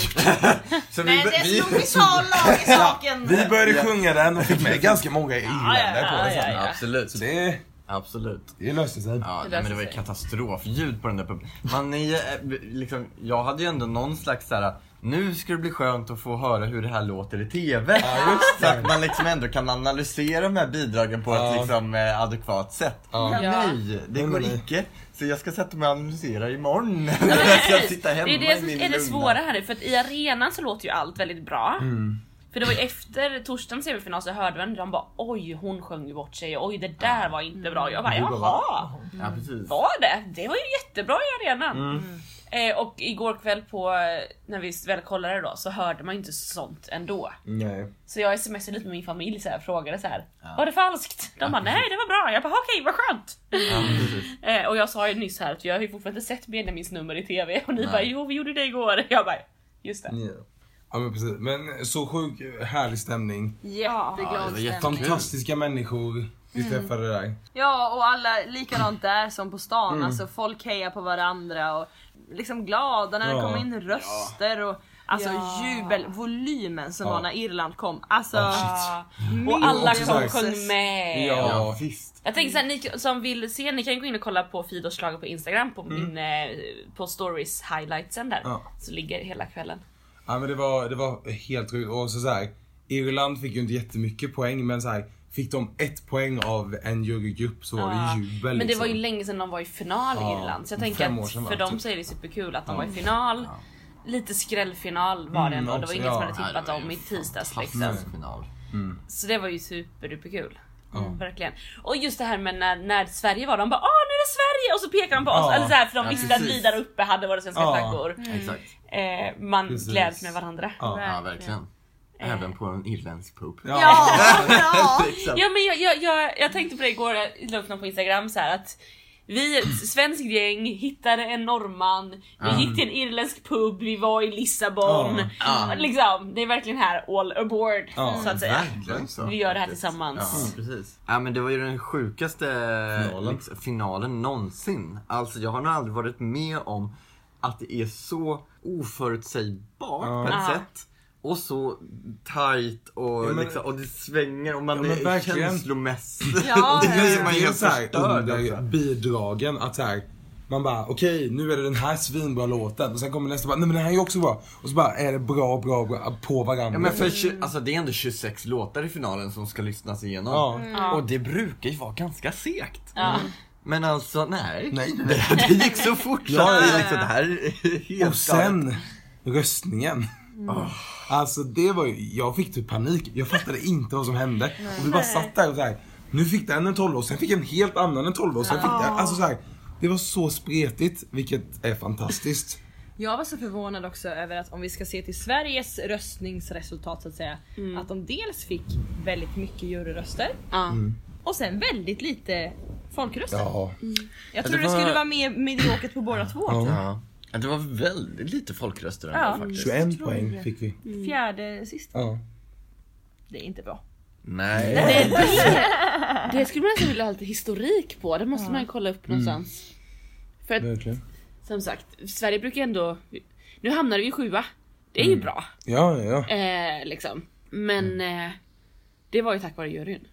Så
Men det slog vi tal lag i saken.
Vi började sjunga den och fick med ganska många irländare på det
ja,
sen.
ja.
Absolut.
Så det,
Absolut.
det löste sig.
Ja,
Det
nej, men det
löser
var ju
sig.
katastrofljud på den där puben. Man är ju, eh, liksom, jag hade ju ändå någon slags såhär, nu ska det bli skönt att få höra hur det här låter i TV.
Ja, just
Så att
det.
man liksom ändå kan analysera de här bidragen på
Ja.
ett liksom, eh, adekvat sätt.
Ja.
Men
Ja.
Nej, det
Nej,
går
nej.
icke. Så jag ska sätta mig och analysera imorgon. jag ska sitta hemma
Det är det
i
som
min
är det
lugna-
svåra här nu, för att i arenan så låter ju allt väldigt bra. För det var ju efter torsdagens semifinal så hörde man de bara oj hon sjöng ju bort sig, oj det där var inte bra. Jag bara
Du bara,
jaha,
Ja, precis.
var det? Det var ju jättebra i arenan.
Mm.
Eh, och igår kväll på, när vi väl kollade då så hörde man ju inte sånt ändå.
Nej.
Så jag smsade lite med min familj så här, frågade så här. Var det falskt? De bara nej det var bra. Jag bara okej vad skönt.
Ja, precis.
Eh, och jag sa ju nyss här att jag har ju fortfarande inte sett Benjamins nummer i TV och ni bara jo vi gjorde det igår. Jag bara just det.
Ja men precis. Men så sjuk härlig stämning.
Ja, det var
Jätteglad
jätte-
stämning.
Fantastiska människor vi
Mm.
träffade där.
Ja och alla likadant där som på stan.
Mm.
Alltså folk hejar på varandra och liksom glada när det
Ja.
kommer in röster och alltså
Ja.
jubel, volymen som
Ja.
var när Irland kom. Alltså
Ja, shit.
Ja.
min
Och alla
Jesus.
kom sjöng med.
Mm. Ja.
Ja, visst.
Jag tänker såhär, ni som vill se, ni kan gå in och kolla på Fidorslaget på Instagram på, min, eh, på stories highlightsen där.
Mm. Ja.
Så ligger hela kvällen.
Ja men det var, det var helt roligt. Och så, så här, Irland fick ju inte jättemycket poäng men så här, fick de ett poäng av en jurygrupp så var
Ja.
det jubel
Men det var ju
liksom.
länge sedan de var i final i
Ja,
Irland. Så jag
fem
tänker
år
att
sedan, va,
för dem
typ.
så är det superkul att de var i final. Lite skrällfinal var det
Mm,
ändå. Det var
också,
ingen som
ja.
hade tippat
Ja, det var
dem
ju
i tisdags liksom.
Fantastisk final.
Så det var ju superduperkul. Mm, Verkligen. Och just det här med när, när Sverige var, de bara åh nu är det Sverige! Och så pekar de på oss.
Ja.
Eller så här, för de
Ja,
visste att
precis.
vi där uppe hade våra svenska
Ja.
flaggor.
Exakt.
Eh, man
Precis.
gläds med varandra. Ja,
Ja.
Ja, verkligen. Även på en irländsk pub.
Ja.
ja.
Exakt.
men jag, jag, jag, jag tänkte på det igår, jag la upp någon på instagram så här att vi, ett svenskt gäng, hittade en norrman, vi
Mm.
gick till en irländsk pub, vi var i Lissabon.
Ja. Mm.
Liksom, det är verkligen här all aboard
Ja.
så att säga.
Verkligen så.
Vi gör det här
Faktiskt.
tillsammans.
Ja, precis. Ja, men det var ju den sjukaste
Mm, Finalen.
liksom, finalen någonsin. Alltså, jag har nog aldrig varit med om att det är så oförutsägbart
Ja.
på ett
Ja.
sätt. Och så tight och,
Ja, men-
liksom, och det svänger och man
Ja, men
är
verkligen.
känslomässig.
Ja,
och det
ja,
blir
ja.
man ju
Det är
helt
så här
förstörd
under
också.
bidragen att så här, man bara okej nu är det den här svinbra låten och sen kommer nästa bara nej men den här är ju också bra. Och så bara är det bra, bra, bra på varandra.
Ja, men för, tju- alltså, det är ändå 26 låtar i finalen som ska lyssnas igenom.
Ja. Mm.
Och det brukar ju vara ganska segt.
Mm. Ja.
Men alltså nej.
Nej.
Det, det gick så fort så
Ja,
att det,
ja.
liksom, det här är helt Mm.
Och sen röstningen. Alltså det var ju, jag fick typ panik. Jag fattade inte vad som hände. Och vi bara satt där och så här. nu fick den en 12 och sen fick en helt annan en 12 och sen fick den, alltså så här. Det var så spretigt, vilket är fantastiskt.
Jag var så förvånad också över att om vi ska se till Sveriges röstningsresultat så att säga. Att de dels fick väldigt mycket juryröster
Ja.
och sen väldigt lite folkröster.
Ja.
Jag
Ja,
trodde
det
det
var-
skulle vara mer mediokert på båda två.
ja.
Ja. Ja, Det var väldigt lite folkröster ändå
Ja.
faktiskt.
21 poäng fick vi.
Fjärde sist.
Ja.
Det är inte bra.
Nej.
Det skulle man nästan vilja ha lite historik på, det måste man ju kolla upp någonstans. För att
Verkligen.
som sagt, Sverige brukar ändå... Nu hamnade vi i sjua. Det är ju bra.
Ja, ja, ja.
Eh, liksom. Men eh, det var ju tack vare juryn.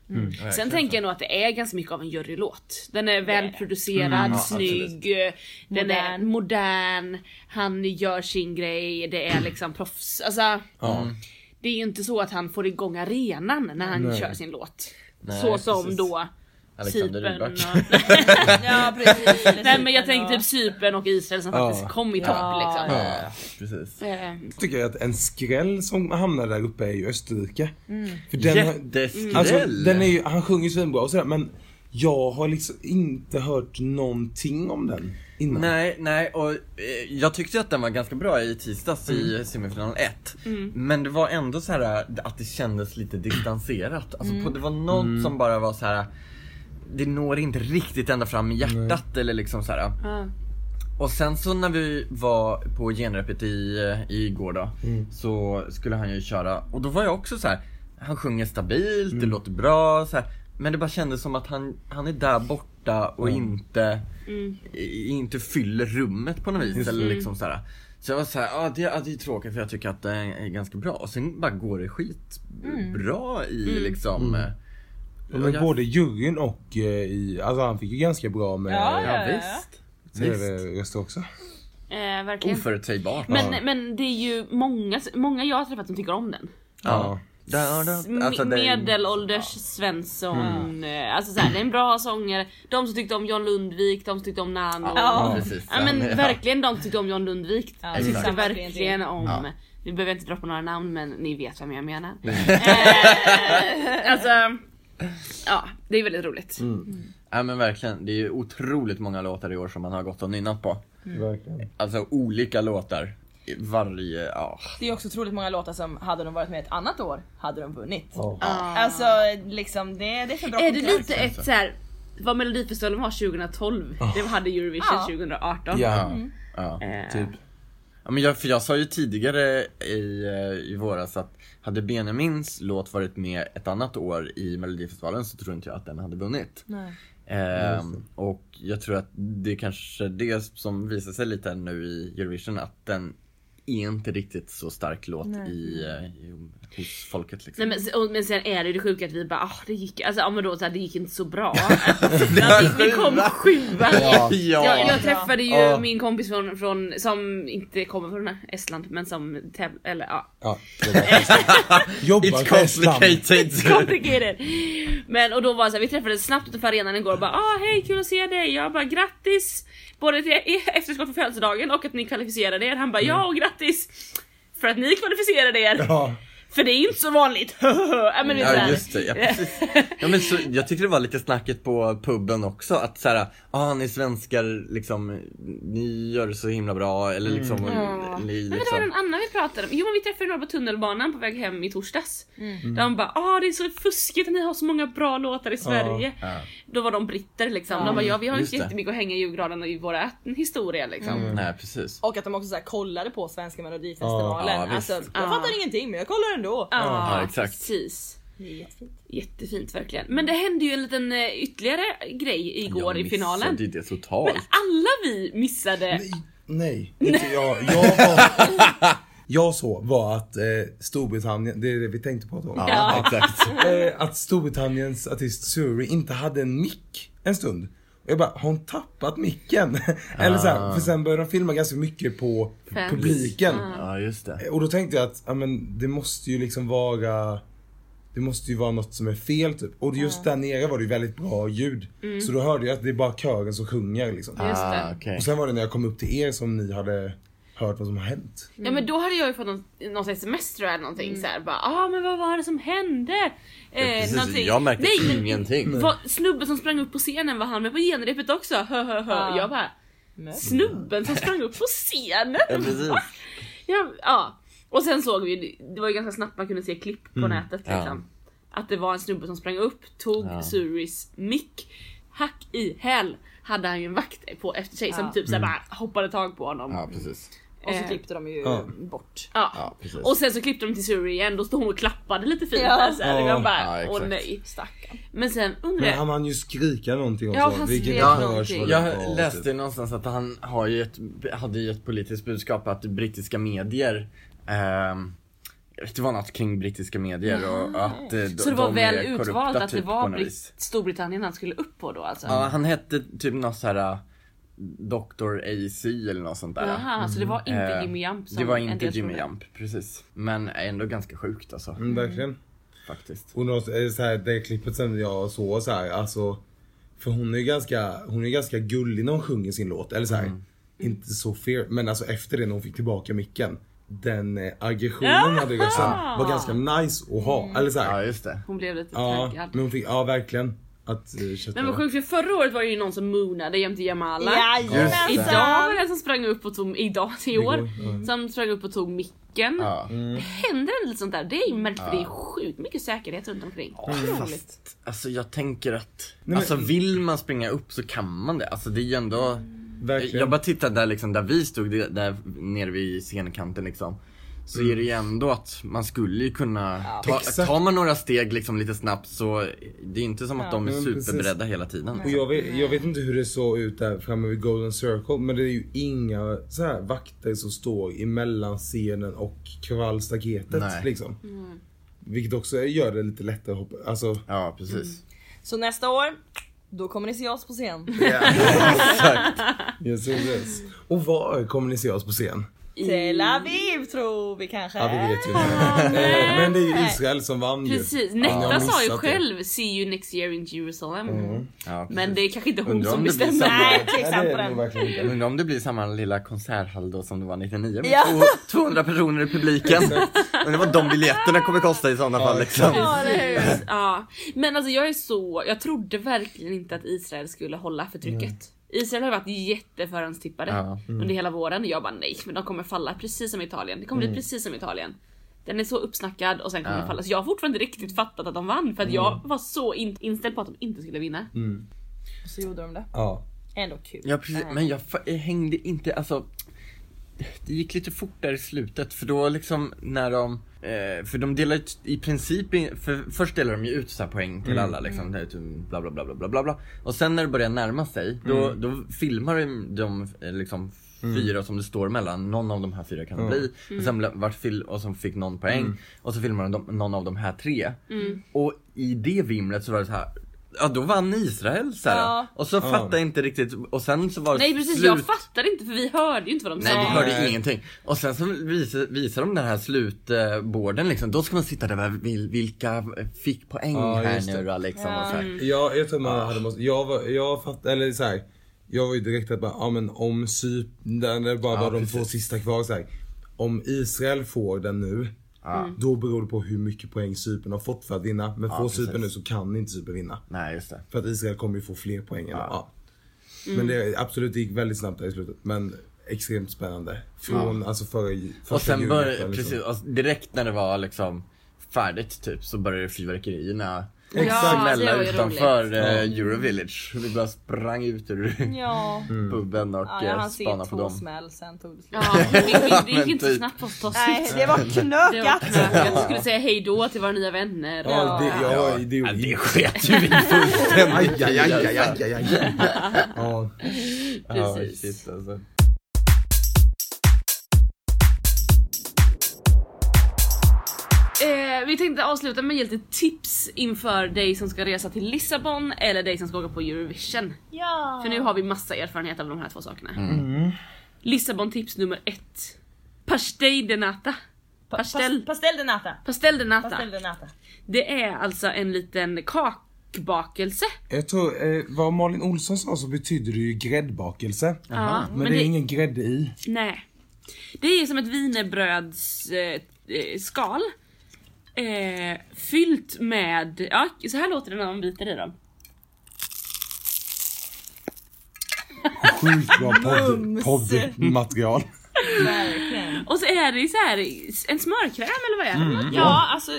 Sen tänker jag nog att det är ganska mycket av en jurylåt. Den är välproducerad,
ja,
snygg, eh, den är
Modern.
modern, han gör sin grej, det är liksom proffs. Alltså,
ja.
det är ju inte så att han får igång arenan när han
Nej.
kör sin låt.
Nej,
så som
precis.
då
Alexander
Cypern och...
Rybak.
Ja precis. Eller
Nej men jag
Cypern
tänkte
och-
typ Cypern och Israel som
Ja.
faktiskt kom i topp
Ja.
liksom.
Ja,
Precis.
Eh,
tycker jag att en skräll som hamnar där uppe är ju Österrike. För den, har-
Jätteskräll!
alltså, den är ju, han sjunger ju svinbra och sådär men jag har liksom inte hört någonting om den innan.
Nej, nej och eh, jag tyckte att den var ganska bra i tisdags i semifinal 1. Men det var ändå så här eh, att det kändes lite distanserat. Alltså, på, det var något som bara var så här. eh, Det når inte riktigt ända fram i hjärtat eller liksom så här.
ja.
Och sen så när vi var på genrepet i, i igår då,
Mm.
så skulle han ju köra och då var jag också så här. han sjunger stabilt,
Mm.
det låter bra så här, men det bara kändes som att han, han är där borta och
Mm.
inte, i, inte fyller rummet på något vis eller liksom så här. Så jag var såhär, ja ah, det, ah, det är tråkigt för jag tycker att det är ganska bra och sen bara går det skitbra i liksom eh,
Mm. Ja,
och
Men
jag-
både juryn och eh, i, alltså han fick ju ganska bra med
Ja, ja.
Ja visst, visst.
tv-röster också.
Eh, verkligen.
Oförutsägbart
Men, men det är ju många, många jag har träffat som tycker om den.
Ja.
M-
Alltså, det- Mm.
Medelålders Svensson. eh, Alltså såhär, det är en bra sångare. De som tyckte om John Lundvik, de som tyckte om Nano.
Ja.
precis.
Ja, men
Ja.
verkligen de som tyckte om John Lundvik.
Ja,
jag tyckte
exakt.
verkligen om.
Ja.
Vi behöver inte droppa några namn men ni vet vem jag menar. eh, alltså, ja det är väldigt roligt.
Mm. Ja men verkligen, det är ju otroligt många låtar i år som man har gått och nynnat på.
Verkligen.
Alltså olika låtar. i Varje, ja.
Det är också otroligt många låtar som, hade de varit med ett annat år, hade de vunnit.
Ja.
Alltså liksom det, det är för bra
Ah. Är det
konkurrens.
lite ett såhär, vad Melodifestivalen var 2012, det hade Eurovision
Ja.
2018.
Ja,
Ah. ja.
Eh,
typ.
ja men jag, för jag sa ju tidigare i, eh, i våras att hade Benjamins låt varit med ett annat år i Melodifestivalen så tror inte jag att den hade vunnit.
Nej.
Ehm, och jag tror att det är kanske det som visar sig lite nu i Eurovision att den är inte riktigt så stark låt i, eh, i, hos folket liksom.
Nej, men, se- och, men sen är det ju det sjuka att vi bara ah, det gick, alltså, ja, men då, så här, det gick inte så bra. det, det kom sjua.
Ja.
Jag, jag träffade ju
Ja.
min kompis från, från, som inte kommer från Estland men som täv- eller ja,
Ja, det var- Jobbar
It's
för Estland.
complicated.
complicated. Men och då var det så här, vi träffades snabbt utanför arenan igår och bara ah hej kul att se dig. Jag bara grattis både till e- efterskott för födelsedagen och att ni kvalificerade er. Han bara ja och grattis för att ni kvalificerade er.
Ja.
För det är inte så vanligt. ja, men det är så
Ja
här.
just det, ja, precis. Ja, men så, jag tyckte det var lite snacket på puben också att såhär, ah ni svenskar liksom, ni gör det så himla bra eller liksom,
Mm. Ja.
ni,
Men det var en
liksom.
annan vi pratade om. Jo men vi träffade några på tunnelbanan på väg hem i torsdags.
Mm.
Där de bara ah det är så fuskigt att ni har så många bra låtar i Sverige.
Ja.
Då var de britter liksom. De bara ja vi har ju
Just
inte
det. Mm.
jättemycket att hänga i julgranen och i våra historia liksom.
Nej precis.
Och att de också så här kollade på svenska melodifestivalen.
Ja, visst.
alltså, jag
Ja.
fattar ingenting men jag kollar ändå.
Ja,
Ja, exakt.
precis.
Det är jättefint.
Jättefint verkligen. Men det hände ju en liten eh, ytterligare grej igår i finalen.
Jag missade det totalt.
Alla vi missade.
Nej, nej, inte jag. Jag, var, jag så var att eh, Storbritannien, det är det vi tänkte prata om.
Ja, exakt.
eh, att Storbritanniens artist Suri inte hade en mick en stund. Och jag bara, har hon tappat micken? Eller så här, för sen började de filma ganska mycket på
Fans.
publiken. Eh,
Ja just det.
Och då tänkte jag att, ja men det måste ju liksom vara det måste ju vara något som är fel typ. Och just där nere var det ju väldigt bra ljud.
Mm.
Så då hörde jag att det är bara kören som sjunger liksom.
Just det.
Ah, okej.
Och sen var det när jag kom upp till er som ni hade hört vad som har hänt.
Ja
Mm.
men då hade jag ju fått något, något sms tror jag eller någonting så här, bara ah men vad var det som hände? Eh,
precis. Jag märkte
men-
ingenting.
Vad, snubben som sprang upp på scenen var han med på genrepet också? Hö, hö, hö.
Ja.
Jag bara snubben som sprang upp på scenen?
Ja, precis.
Va? ja, ja. Och sen såg vi ju- det var ju ganska snabbt man kunde se klipp på nätet
Mm. Ja.
liksom. Att det var en snubbe som sprang upp, tog
Ja.
Suris mick, hack i häl hade han ju en vakt på efter sig som
Ja.
typ såhär bara hoppade tag på honom.
Mm. Ja precis.
Och så
Eh.
klippte de ju
Ja.
bort.
Ja.
Ja, precis.
och sen så klippte de till Suri igen, då stod hon och klappade lite fint
Ja.
där såhär.
Ja.
Jag
Ja,
bara
exakt.
åh nej.
Stackarn.
Men sen undrar
Men han
jag,
hann ju skrika någonting också.
Ja, han
vilket
skrek
hörs
någonting.
vad det var,
Jag läste
typ.
någonstans att han har ju ett, hade ju ett politiskt budskap att brittiska medier ehm, det var något kring brittiska medier och att eh, de-
så det var
de är
väl
korrupta
utvalt att det
typ på
var
något vis.
Britt, Storbritannien han skulle upp på då alltså?
Ja, han hette typ något så här eh, Dr. AC eller något sånt där.
Jaha, så det var inte
Eh,
Jimmy Jump som
Det var
en
inte
del
Jimmy
trodde.
Jump, precis. Men ändå ganska sjukt alltså,
Mm, verkligen.
faktiskt.
Och något, eh, så här, det klippet som jag såg så här, alltså För hon är ju ganska, hon är ganska gullig när hon sjunger sin låt. Eller så här, inte så fair. Men alltså efter det när hon fick tillbaka micken. Den eh, aggressionen hon hade i rösten
Jaha.
var ganska nice att ha. Eller så
Ja
här,
just det.
Hon blev lite
ja,
Mm. taggad.
men hon fick, ja verkligen. Att eh, kötta-
Men vad sjukt för förra året var det ju någon som moonade jämte Jamala.
Just det.
Idag
Jajamensan!
var det en som sprang upp och tog, idag i
Igår,
år,
ja.
som sprang upp och tog micken.
Ja.
Händer det lite sånt där? Det är ju märkligt för det är sjukt mycket säkerhet runt omkring. Otroligt.
Fast, alltså jag tänker att, alltså vill man springa upp så kan man det. Alltså det är ju ändå
Mm.
Verkligen.
Jag bara tittar där liksom, där vi stod, det- där nere vid scenkanten liksom. Så
Mm.
är det ju ändå att man skulle ju kunna, ta,
Exakt.
tar man några steg liksom lite snabbt så det är ju inte som att de är
Ja, men precis.
superberedda hela tiden.
Och jag, vet, jag vet inte hur det såg ut där framme vid Golden Circle men det är ju inga så här, vakter som står emellan scenen och kravallstaketet
Nej.
liksom.
Mm.
Vilket också gör det lite lättare att hoppa. Alltså,
Ja
Mm.
precis.
Så nästa år, då kommer ni se oss på scen.
Exakt.
yes, yes, yes. Och var kommer ni se oss på scen?
Tel Aviv tror vi kanske.
Ja, vi vet ju inte. Eh, Men det är ju Israel som vann ju.
Precis,
jag har
Netta sa ju
missat det.
själv “See you next year in Jerusalem”.
Ja,
Men det är kanske inte hon
Undrar
som
om det blir
bestämmer.
samma-
Nej,
Nej, det
tveksam på
är nog
den.
verkligen inte.
Undrar om det blir samma lilla konserthall då som det var 99 med
Ja.
två- 200 personer i publiken. Undrar vad de biljetterna kommer kosta i sådana fall liksom.
Ja, det är ju-
Ja. Men alltså jag är så, jag trodde verkligen inte att Israel skulle hålla förtrycket. Israel har ju varit jätteförhandstippade
Ja. Mm.
under hela våren. Jag bara nej, men de kommer falla precis som Italien. Det kommer bli precis som Italien. Den är så uppsnackad och sen kommer
Ja.
den falla. Så jag har fortfarande inte riktigt fattat att de vann för att jag var så in- inställd på att de inte skulle vinna.
Mm.
Så gjorde de det.
Ja.
Ändå kul. Eh,
Ja precis,
Nej.
men jag, fa- jag hängde inte, alltså Det gick lite fort där i slutet för då liksom när de eh, För de delar ut i princip, in, för först delar de ju ut så här poäng till alla liksom det är typ bla, bla bla bla bla bla bla Och sen när det börjar närma sig då, då filmar de, de eh, liksom Fyra som det står mellan, någon av de här fyra kan det bli. Och sen blev- vart fil- och som fick någon poäng. Och så filmar de dem- någon av de här tre. Och i det vimlet så var det så här. Ja då vann Israel så här.
Ja.
Och så fattade jag inte riktigt, och sen så var det
Nej precis,
slut
jag fattar inte för vi hörde ju inte vad de
Nej vi
sa.
hörde
Nej.
ingenting. Och sen så visar, visar de den här slutborden liksom, då ska man sitta där med vil- vilka fick poäng
Ja,
här
just det.
nu då liksom och så här.
Jag, jag tror man hade måste, jag var, jag fattade, eller så här, jag var ju direkt att bara, ja men om Cyp, där det bara
Ja,
var de
precis.
två sista kvar så här. Om Israel får den nu, då beror det på hur mycket poäng Cypern har fått för att vinna. Men får
precis.
Cypern nu så kan inte Cypern vinna.
Nej just det.
För att Israel kommer ju få fler poäng. Eller, ja. Men det, absolut, det gick väldigt snabbt där i slutet. Men extremt spännande. Från alltså förra, första
Och sen
juni,
började,
liksom.
precis, och direkt när det var liksom färdigt typ så började fyrverkerierna alltså,
Ja, det
smälla
var ju
utanför
roligt.
eh, Eurovillage. Vi bara sprang ut ur
Ja.
Mm.
puben och
Ja, jag
eh,
hann se
spanade på
två
dem.
smäll, sen tog det slut.
Ja, det, det, det gick
Men
inte så
typ.
snabbt för oss att ta oss
Nej,
ut.
det var
Det var
knökat.
knökat. Vi skulle säga hej då till våra nya vänner.
Ja, det, ja, det,
Ja, det sket ju vi fullständigt
Aj, aj, aj, aj, aj, aj, aj. Ja.
Ja,
Precis.
shit, alltså.
Eh, vi tänkte avsluta med lite tips inför dig som ska resa till Lissabon eller dig som ska åka på Eurovision.
Ja.
För nu har vi massa erfarenhet av de här två sakerna.
Mm.
Mm.
Lissabon tips nummer ett. Pastej de nata. Pastell.
Pastell. Pastell de nata.
Pastel de nata.
Pastell de nata.
Det är alltså en liten kakbakelse.
Jag tror, eh, vad Malin Olsson sa så betyder det ju gräddbakelse.
Ja,
Men, det är ingen grädde i.
Nej. Det är som ett wienerbröds eh, eh, skal. Eh, fyllt med, ja så här låter det när man biter i dem.
Sjukt bra podd-
Mums.
poddmaterial.
Verkligen.
Och så är det så här en smörkräm eller vad är det?
Ja, alltså.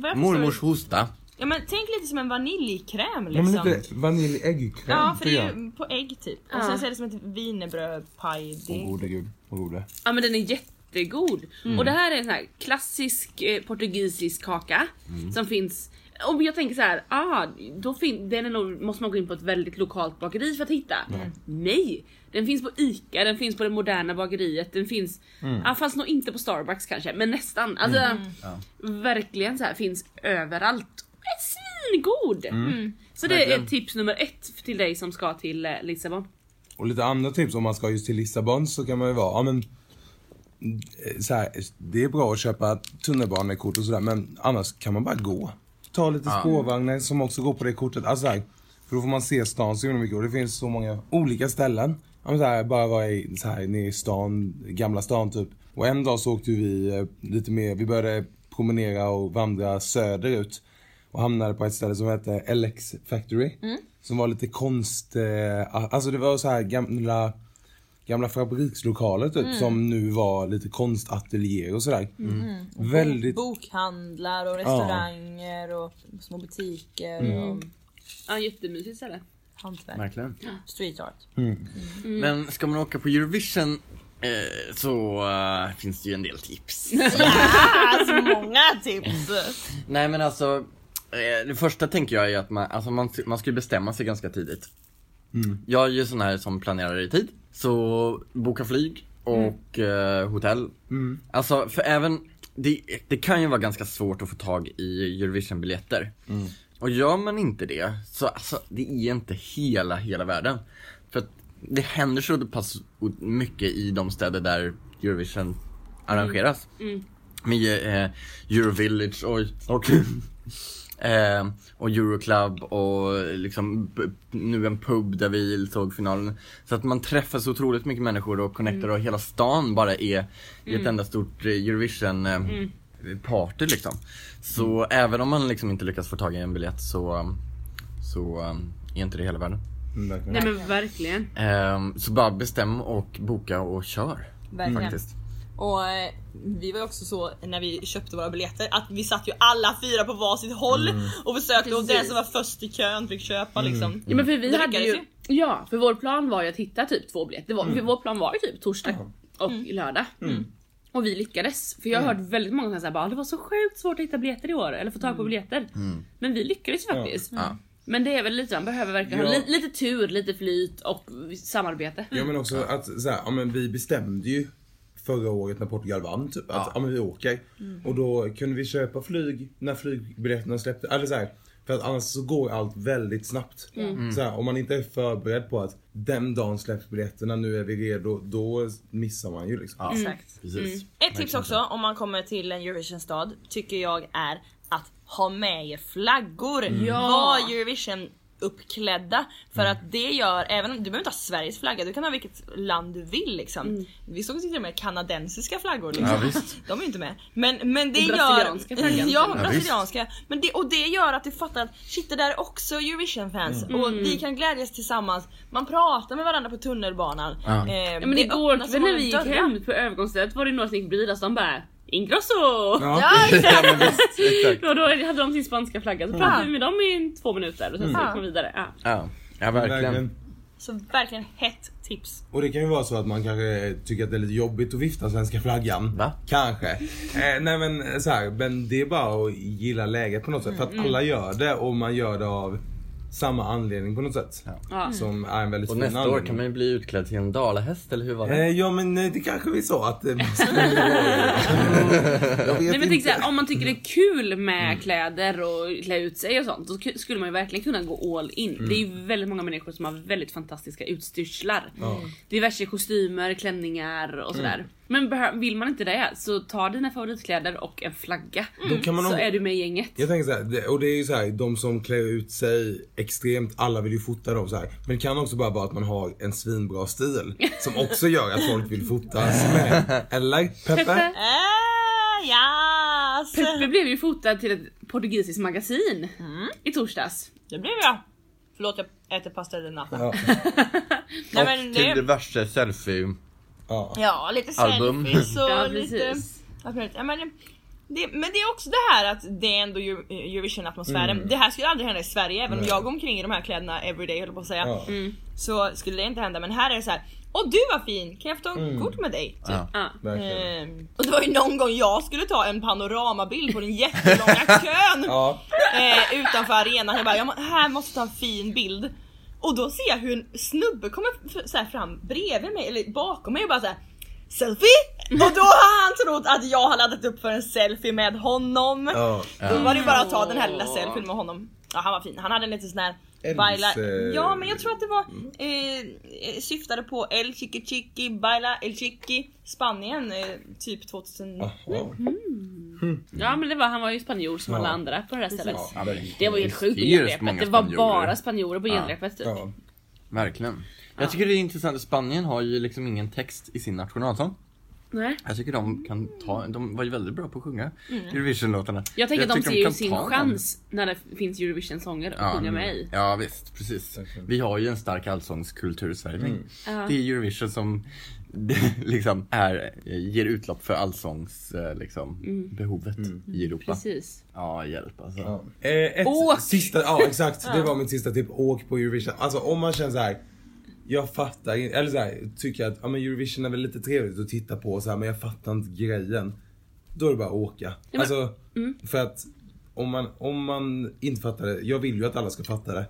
vad jag
Mormors
förstår-
hosta.
Ja, men tänk lite som en vaniljkräm
Ja, men
liksom.
lite vaniljäggkräm.
Ja, för det är
tycker
ju på ägg typ. Och
Ja.
sen så är det som ett wienerbrödpajdeg.
jag. Åh gode gud, vad gode.
Ja men den är jättegod. Och det här är en sån här klassisk eh, portugisisk kaka som finns och jag tänker så här, ah, då fin- den är nog, måste man gå in på ett väldigt lokalt bakeri för att hitta. Nej! Den finns på ICA, den finns på det moderna bageriet, den finns, ah, fast nog inte på Starbucks kanske, men nästan. Alltså, Verkligen så här, finns överallt. Är svingod! Mm. Så det är
Verkligen.
tips nummer ett till dig som ska till eh, Lissabon.
Och lite andra tips om man ska just till Lissabon så kan man ju vara, ja men eh, så här, det är bra att köpa tunnelbanekort och sådär men annars kan man bara gå. Ta lite spårvagnar som också går på det kortet. Alltså så här, För då får man se stan så himla mycket och det finns så många olika ställen. Ja, men så här, bara vara i, så här, nere i stan, Gamla stan typ. Och en dag så åkte vi eh, lite mer, vi började promenera och vandra söderut. Och hamnade på ett ställe som hette LX Factory. Som var lite konst, eh, alltså det var så här gamla gamla fabrikslokaler typ som nu var lite konstateljéer och sådär. Väldigt...
Bokhandlar och restauranger och små butiker och
Mm.
Ja, jättemysigt ställe.
hantverk.
Verkligen.
Street art.
Men ska man åka på Eurovision eh, så eh, finns det ju en del tips.
Ah, så många tips!
Mm.
Nej men alltså, eh, det första tänker jag är att man, alltså man, man ska ju bestämma sig ganska tidigt. Jag är ju sån här som planerar i tid, så boka flyg och eh, hotell. Alltså, för även, det, det kan ju vara ganska svårt att få tag i Eurovision-biljetter. Och gör man inte det, så alltså, det är inte hela, hela världen. För att det händer så pass o- mycket i de städer där Eurovision arrangeras. Med eh, Eurovillage och, och, eh, och Euroclub och liksom b- nu en pub där vi såg finalen. Så att man träffar så otroligt mycket människor och connectar och hela stan bara är i ett enda stort eh, Eurovision eh, party liksom. Så även om man liksom inte lyckas få tag i en biljett så, så eh, är inte det hela världen.
Mm, verkligen.
Nej men verkligen.
Eh, så bara bestäm och boka och kör
Verkligen.
faktiskt.
Och eh, vi var ju också så när vi köpte våra biljetter att vi satt ju alla fyra på varsitt håll
Mm.
och försökte och den
Precis.
som var först i kön fick köpa liksom.
Ja, men för vi
Det
hade
lyckades
ju, ja, för vår plan var ju att hitta typ två biljetter. Vår, för vår plan var ju typ torsdag och lördag. Och vi lyckades. För jag har hört väldigt många som säger bara "Ah, det var så sjukt svårt att hitta biljetter i år eller få tag på biljetter. Men vi lyckades ju faktiskt.
Ja.
Men det är väl lite, man behöver verkligen ha
Ja. Mm.
li, lite tur, lite flyt och samarbete.
Ja men också att så här, ja, men vi bestämde ju förra året när Portugal vann typ, att ja. Mm. men vi åker. Och då kunde vi köpa flyg när flygbiljetterna släppte. Eller så här, för att annars så går allt väldigt snabbt. Så här, om man inte är förberedd på att den dagen släpps biljetterna, nu är vi redo. Då missar man ju liksom.
Exakt.
Precis.
Ett tips också om man kommer till en Eurovision-stad tycker jag är att ha med er flaggor.
Mm.
Ja.
Var Eurovision uppklädda för att det gör även du behöver inte ha Sveriges flagga, du kan ha vilket land du vill liksom.
Mm.
Vi såg till och med kanadensiska flaggor liksom.
Ja, visst.
De är inte med. Men, men det
Och brasilianska
gör...
flaggan.
Ja,
visst.
brasilianska. Men det, och det gör att du fattar att shit det där är också Eurovision-fans
Mm.
och
Mm.
vi kan glädjas tillsammans. Man pratar med varandra på tunnelbanan.
Ja.
Eh,
Ja, men
det
igår
öppnar så
kväll när
många
vi gick
dörrar.
hem på övergångsstället var det några som gick bredvid oss de bara Ingrosso!
ja men visst, exakt.
Och då hade de sin spanska flagga så pratade vi med dem i två minuter och sen så
Mm.
gick de vidare. Ja.
Ja, ja verkligen.
Verkligen.
Så verkligen hett tips.
Och det kan ju vara så att man kanske tycker att det är lite jobbigt att vifta svenska flaggan.
Va?
Kanske. Eh, nej men så här, men det är bara att gilla läget på något sätt. För
Mm.
att alla gör det och man gör det av samma anledning på något sätt.
Ja. Mm.
Som är en väldigt
Och
fin
nästa år kan man ju bli utklädd till en dalahäst, eller hur var
Eh,
det?
ja men eh, det kanske vi sa att eh, man skulle vara. Jag vet
Nej, men tänk
inte. Mm.
såhär, om man tycker det är kul med kläder och klä ut sig och sånt, då ku- skulle man ju verkligen kunna gå all in.
Mm.
Det är ju väldigt många människor som har väldigt fantastiska utstyrslar.
Mm.
Diverse kostymer, klänningar och sådär. Men behö- vill man inte det så ta dina favoritkläder och en flagga.
Mm. Då kan man
så
nog-
är du med i gänget.
Jag tänker så här, det- och det är ju så här, de som klär ut sig extremt, alla vill ju fota dem så här. Men det kan också bara vara att man har en svinbra stil som också gör att folk vill fotas med. Eller Peppe?
Peppe.
Äh, yes.
Peppe blev ju fotad till ett portugisiskt magasin i torsdags.
Det blev jag. Förlåt jag äter pasta eller nata.
Ja.
Nej, men
Och till
det,
diverse selfie...
Ja.
ja lite
Album.
selfies och
Ja,
lite...
precis.
Allt möjligt. Ja, men, det, men det är också det här att det är ändå Euro- Eurovision-atmosfären. Det här skulle aldrig hända i Sverige även om jag går omkring i de här kläderna everyday höll jag på att säga.
Ja.
Mm.
Så skulle det inte hända men här är det så här. Åh du var fin, kan jag få ta en kort med dig? Typ.
Ja.
Mm.
Ja.
Verkligen.
Ehm, och det var ju någon gång jag skulle ta en panoramabild på den jättelånga kön
Ja.
eh, utanför arenan. Jag bara, jag må, här måste jag ta en fin bild. Och då ser jag hur en snubbe kommer f- så här fram bredvid mig, eller bakom mig och bara såhär Selfie! Och då har han trott att jag har laddat upp för en selfie med honom.
Ja.
Då var det ju bara att ta den här lilla selfien med honom. Ja han var fin, han hade en liten sån här
Elvis,
Baila,
eh,
ja men jag tror att det var eh, eh, syftade på El Chiqui Chiqui, Baila El Chiqui, Spanien eh, typ 2000.
Jaha.
Ja men det var, han var ju spanjor som
Ja.
alla andra på det här stället.
Ja, verkligen.
Det var ju helt sjukt på
Det är just
genrepet.
många
Det var
spanjorer.
bara spanjorer på genrepet typ.
Ja.
Verkligen. Jag tycker det är intressant, Spanien har ju liksom ingen text i sin nationalsång.
Nej.
Jag tycker de kan ta, de var ju väldigt bra på att sjunga Eurovision-låtarna.
Mm. Jag tänker att de
tycker
ser ju
kan
sin
ta dem.
chans när det finns Eurovision-sånger att sjunga med i.
Ja mm. visst, precis. Vi har ju en stark allsångskultur i Sverige.
Ja.
Det är Eurovision som det liksom är, ger utlopp för allsångsbehovet liksom, behovet i Europa.
Mm. Precis.
Ja, hjälp alltså.
Ja. Eh, ett
Åk!
sista, ja exakt. Det var mitt sista tips. Åk på Eurovision. Alltså om man känner så här. Jag fattar inte, eller så här, tycker att ja, men Eurovision är väl lite trevligt att titta på och så här, men jag fattar inte grejen. Då är det bara att åka. Alltså, för att om man, om man inte fattar det, jag vill ju att alla ska fatta det.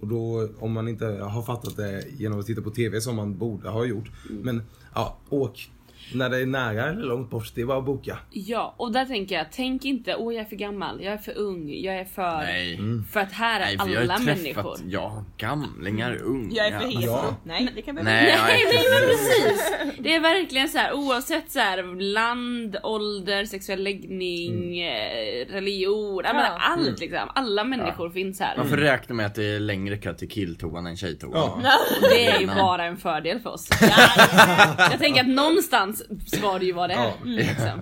Och då, om man inte har fattat det genom att titta på TV som man borde ha gjort. Men ja, åk. När det är nära eller långt bort, det är bara att boka.
Ja, och där tänker jag, tänk inte åh jag är för gammal, jag är för ung, jag är för...
Nej.
För att här är
Nej, för jag har ju
alla
träffat,
människor. Mm.
ja, gamlingar, unga. Alltså,
Jag är för hes.
Ja.
Nej det kan vi
Nej, jag
Nej
är
men men precis! Det är verkligen så här oavsett så här land, ålder, sexuell läggning,
Mm.
eh, religion, ja. men
Ja.
allt liksom. Alla människor finns här.
Varför räknar man att det är längre kö till killtoan än tjejtoan?
Ja.
Det är ju
Nej.
bara en fördel för oss. Jag tänker att någonstans ska det ju vara det här.
Ja.
Liksom.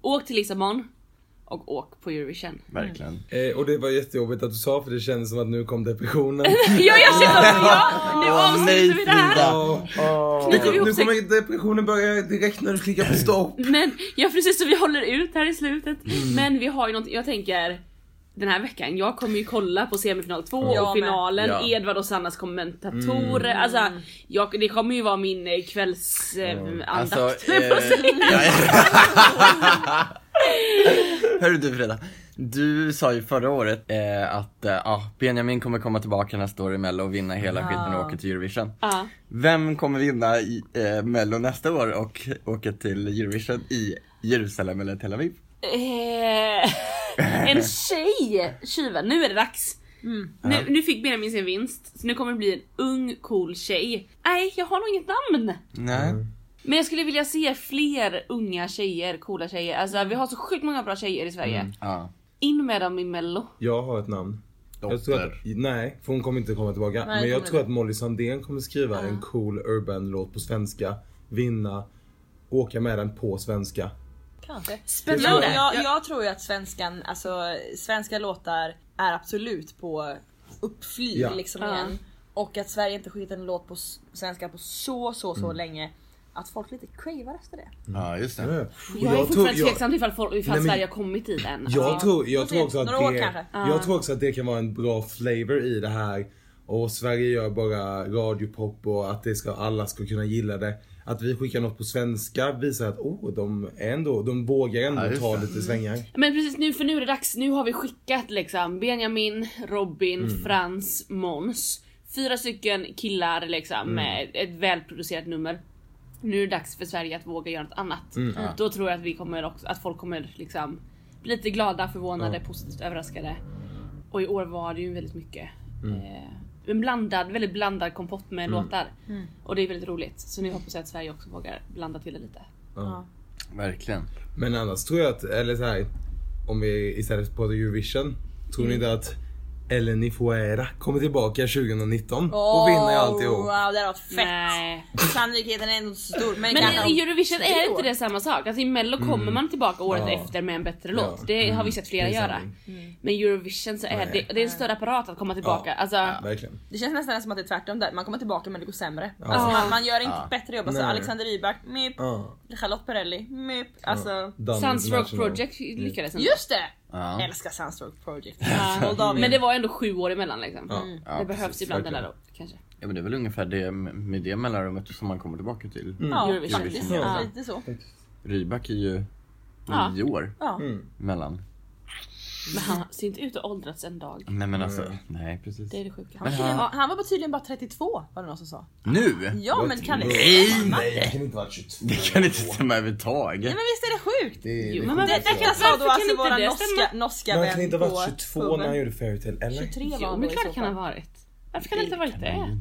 Åk till Lissabon och åk på Eurovision.
Verkligen.
Eh, och det var jättejobbigt att du sa för det kändes som att nu kom depressionen.
Ja jag känner också ja! Nu avslutar vi det här!
Ja, ja.
Knyter vi ihop
Nu
säck-
kommer depressionen börja direkt när du klickar på stopp.
Men, ja precis så vi håller ut här i slutet. Men vi har ju någonting, jag tänker den här veckan, jag kommer ju kolla på semifinal 2
Jag
och
med.
finalen,
Ja.
Edvard och Sannas kommentatorer, alltså jag, det kommer ju vara min eh, kvälls eh, andakt.
Alltså,
höll jag på att
eh,
säga.
Hörru du Frida, du sa ju förra året eh, att eh, ah, Benjamin kommer komma tillbaka nästa år i mello och vinna hela skiten och åka till Eurovision.
Ja.
Vem kommer vinna i, eh, mello nästa år och åka till Eurovision i Jerusalem eller Tel Aviv?
Eh, en tjej! Tjuven, nu är det dags! Nu, nu fick Benjamin sin vinst, så nu kommer det bli en ung cool tjej. Nej, jag har nog inget namn!
Nej.
Men jag skulle vilja se fler unga tjejer, coola tjejer. Alltså vi har så sjukt många bra tjejer i Sverige.
Mm.
Ja.
In med dem i mello.
Jag har ett namn. Jag tror att,
Dotter.
nej, för hon kommer inte komma tillbaka.
Nej,
men jag
kommer inte.
tror att Molly Sandén kommer skriva en cool urban-låt på svenska, vinna, åka med den på svenska.
Kanske.
Spännande.
Men Jag, jag, jag tror ju att svenskan, alltså svenska låtar är absolut på uppflyg
Ja.
liksom
Ja.
igen. Och att Sverige inte skickat en låt på s- svenska på så så
Mm.
så länge. Att folk lite cravar efter det.
Ja, just det.
Jag,
Jag, är fortfarande
jag,
tveksam till ifall, folk- ifall
Nej, men-
Sverige har kommit dit än.
jag,
Alltså,
tror,
Får
jag,
se,
tror också
typ några
att
år
det,
kanske.
jag tror också att det kan vara en bra flavor i det här. Och Sverige gör bara radiopop och att det ska, alla ska kunna gilla det. Att vi skickar något på svenska visar att oh, de, är ändå, de vågar ändå
Ja, just
ta
det.
Mm.
lite svängar.
Men precis nu, för nu är det dags. Nu har vi skickat liksom Benjamin, Robin, Frans, Måns. Fyra stycken killar liksom med ett välproducerat nummer. Nu är det dags för Sverige att våga göra något annat. Då tror jag att, vi kommer också, att folk kommer liksom bli lite glada, förvånade, positivt överraskade. Och i år var det ju väldigt mycket eh, en blandad, väldigt blandad kompott med låtar. Och det är väldigt roligt. Så nu hoppas jag att Sverige också vågar blanda till det lite.
Verkligen.
Men annars tror jag att, eller så här, om vi istället pratar Eurovision. Tror
Mm.
ni inte att Eleni Fuera kommer tillbaka 2019 och vinner alltihop?
Wow, det hade varit fett.
Nej.
Sannolikheten är ändå inte så stor. Men,
Men
kanske-
i Eurovision är inte det samma sak. Alltså i mello kommer man tillbaka året
Mm. Ja.
efter med en bättre
Ja. Mm.
låt. Det har vi sett flera
Det är
göra.
sanning.
Men Eurovision så är det, det är en större apparat att komma tillbaka.
Ja.
Alltså,
Verkligen.
Det känns nästan som att det är tvärtom där. Man kommer tillbaka men det går sämre. Alltså man, man gör inte ett bättre jobb. Alltså
Nej.
Alexander Rybak, myp.
Ja.
Charlotte Perrelli, myp. Alltså.
Done
Sunstroke
International.
Project lyckades inte.
Just det!
Ja.
Älskar Sunstroke Project.
Men det Alltså, var ändå sju år emellan liksom.
Ja.
Ja,
det behövs
precis,
ibland det där
verkligen.
då kanske.
Ja, men det är väl ungefär det med det mellanrummet som man kommer tillbaka till.
Ja,
Eurovision.
faktiskt.
Ja.
Lite så.
Rybak är ju
Ja.
nio år
Ja.
mellan.
Men han ser inte ut att ha åldrats en dag.
Nej men alltså, nej precis.
Det är det sjuka.
Men
Han,
han-
Ja, han var bara tydligen bara 32 var det någon som sa.
Nu?
Ja men Kalle.
Nej!
Nej, det kan inte vara 22.
Det kan inte stämma överhuvudtaget.
Nej men visst är det sjukt?
Det,
jo,
det,
men
Det,
varför,
det kan jag
varför
sa då
kan
alltså
inte
våra
det
norska,
stämma?
norska
men han kan
vän
inte
på
ha varit 22 när han
puben.
gjorde Fairytale, eller?
23 var
Jo
han
men
då i så
klart kan
fall.
han ha varit. Varför kan han inte ha varit det?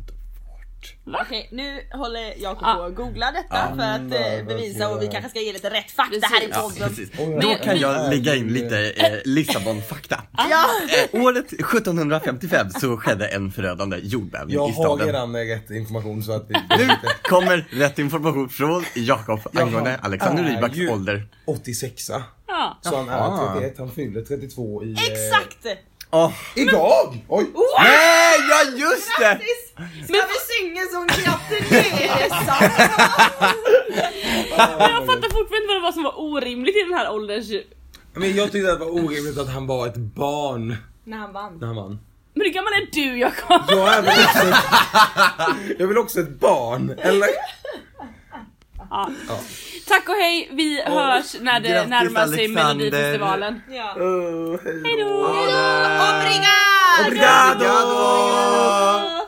Okej, nu håller Jakob
Ah.
på att googla detta för att eh,
Mm,
bevisa och vi
verkligen.
kanske ska ge lite rätt fakta här i
Ja,
podden.
precis.
Oj,
Då
ja.
kan jag lägga in lite eh, Lissabon-fakta.
Ja.
Eh, året 1755 så skedde en förödande jordbävning
Jag
i
har
staden.
redan rätt information så att vi...
Nu kommer rätt information från Jakob
Jag
angående
har-
Alexander
är
Rybaks
ju
ålder.
86
Ja.
Så han
Jaha.
är 31, han fyller 32 i... eh,
Exakt!
Åh,
Idag! Oj!
Eh,
Oh!
Nej, ja just det!
Grattis! Ska vi synga sån grattis? Det är sant!
Men jag fattar fortfarande inte vad det var som var orimligt i den här ålders...
Men jag tyckte att det var orimligt att han var ett barn
När han vann.
när han vann.
Men hur gammal är du Jakob?
Jag är väl också ett, jag är väl också ett barn, eller?
Tack och hej, vi hörs när det
grattis,
närmar sig
Alexander.
Melodifestivalen.
Ja.
Uh,
Hejdå!
Där.
Obrigado!
Obrigado!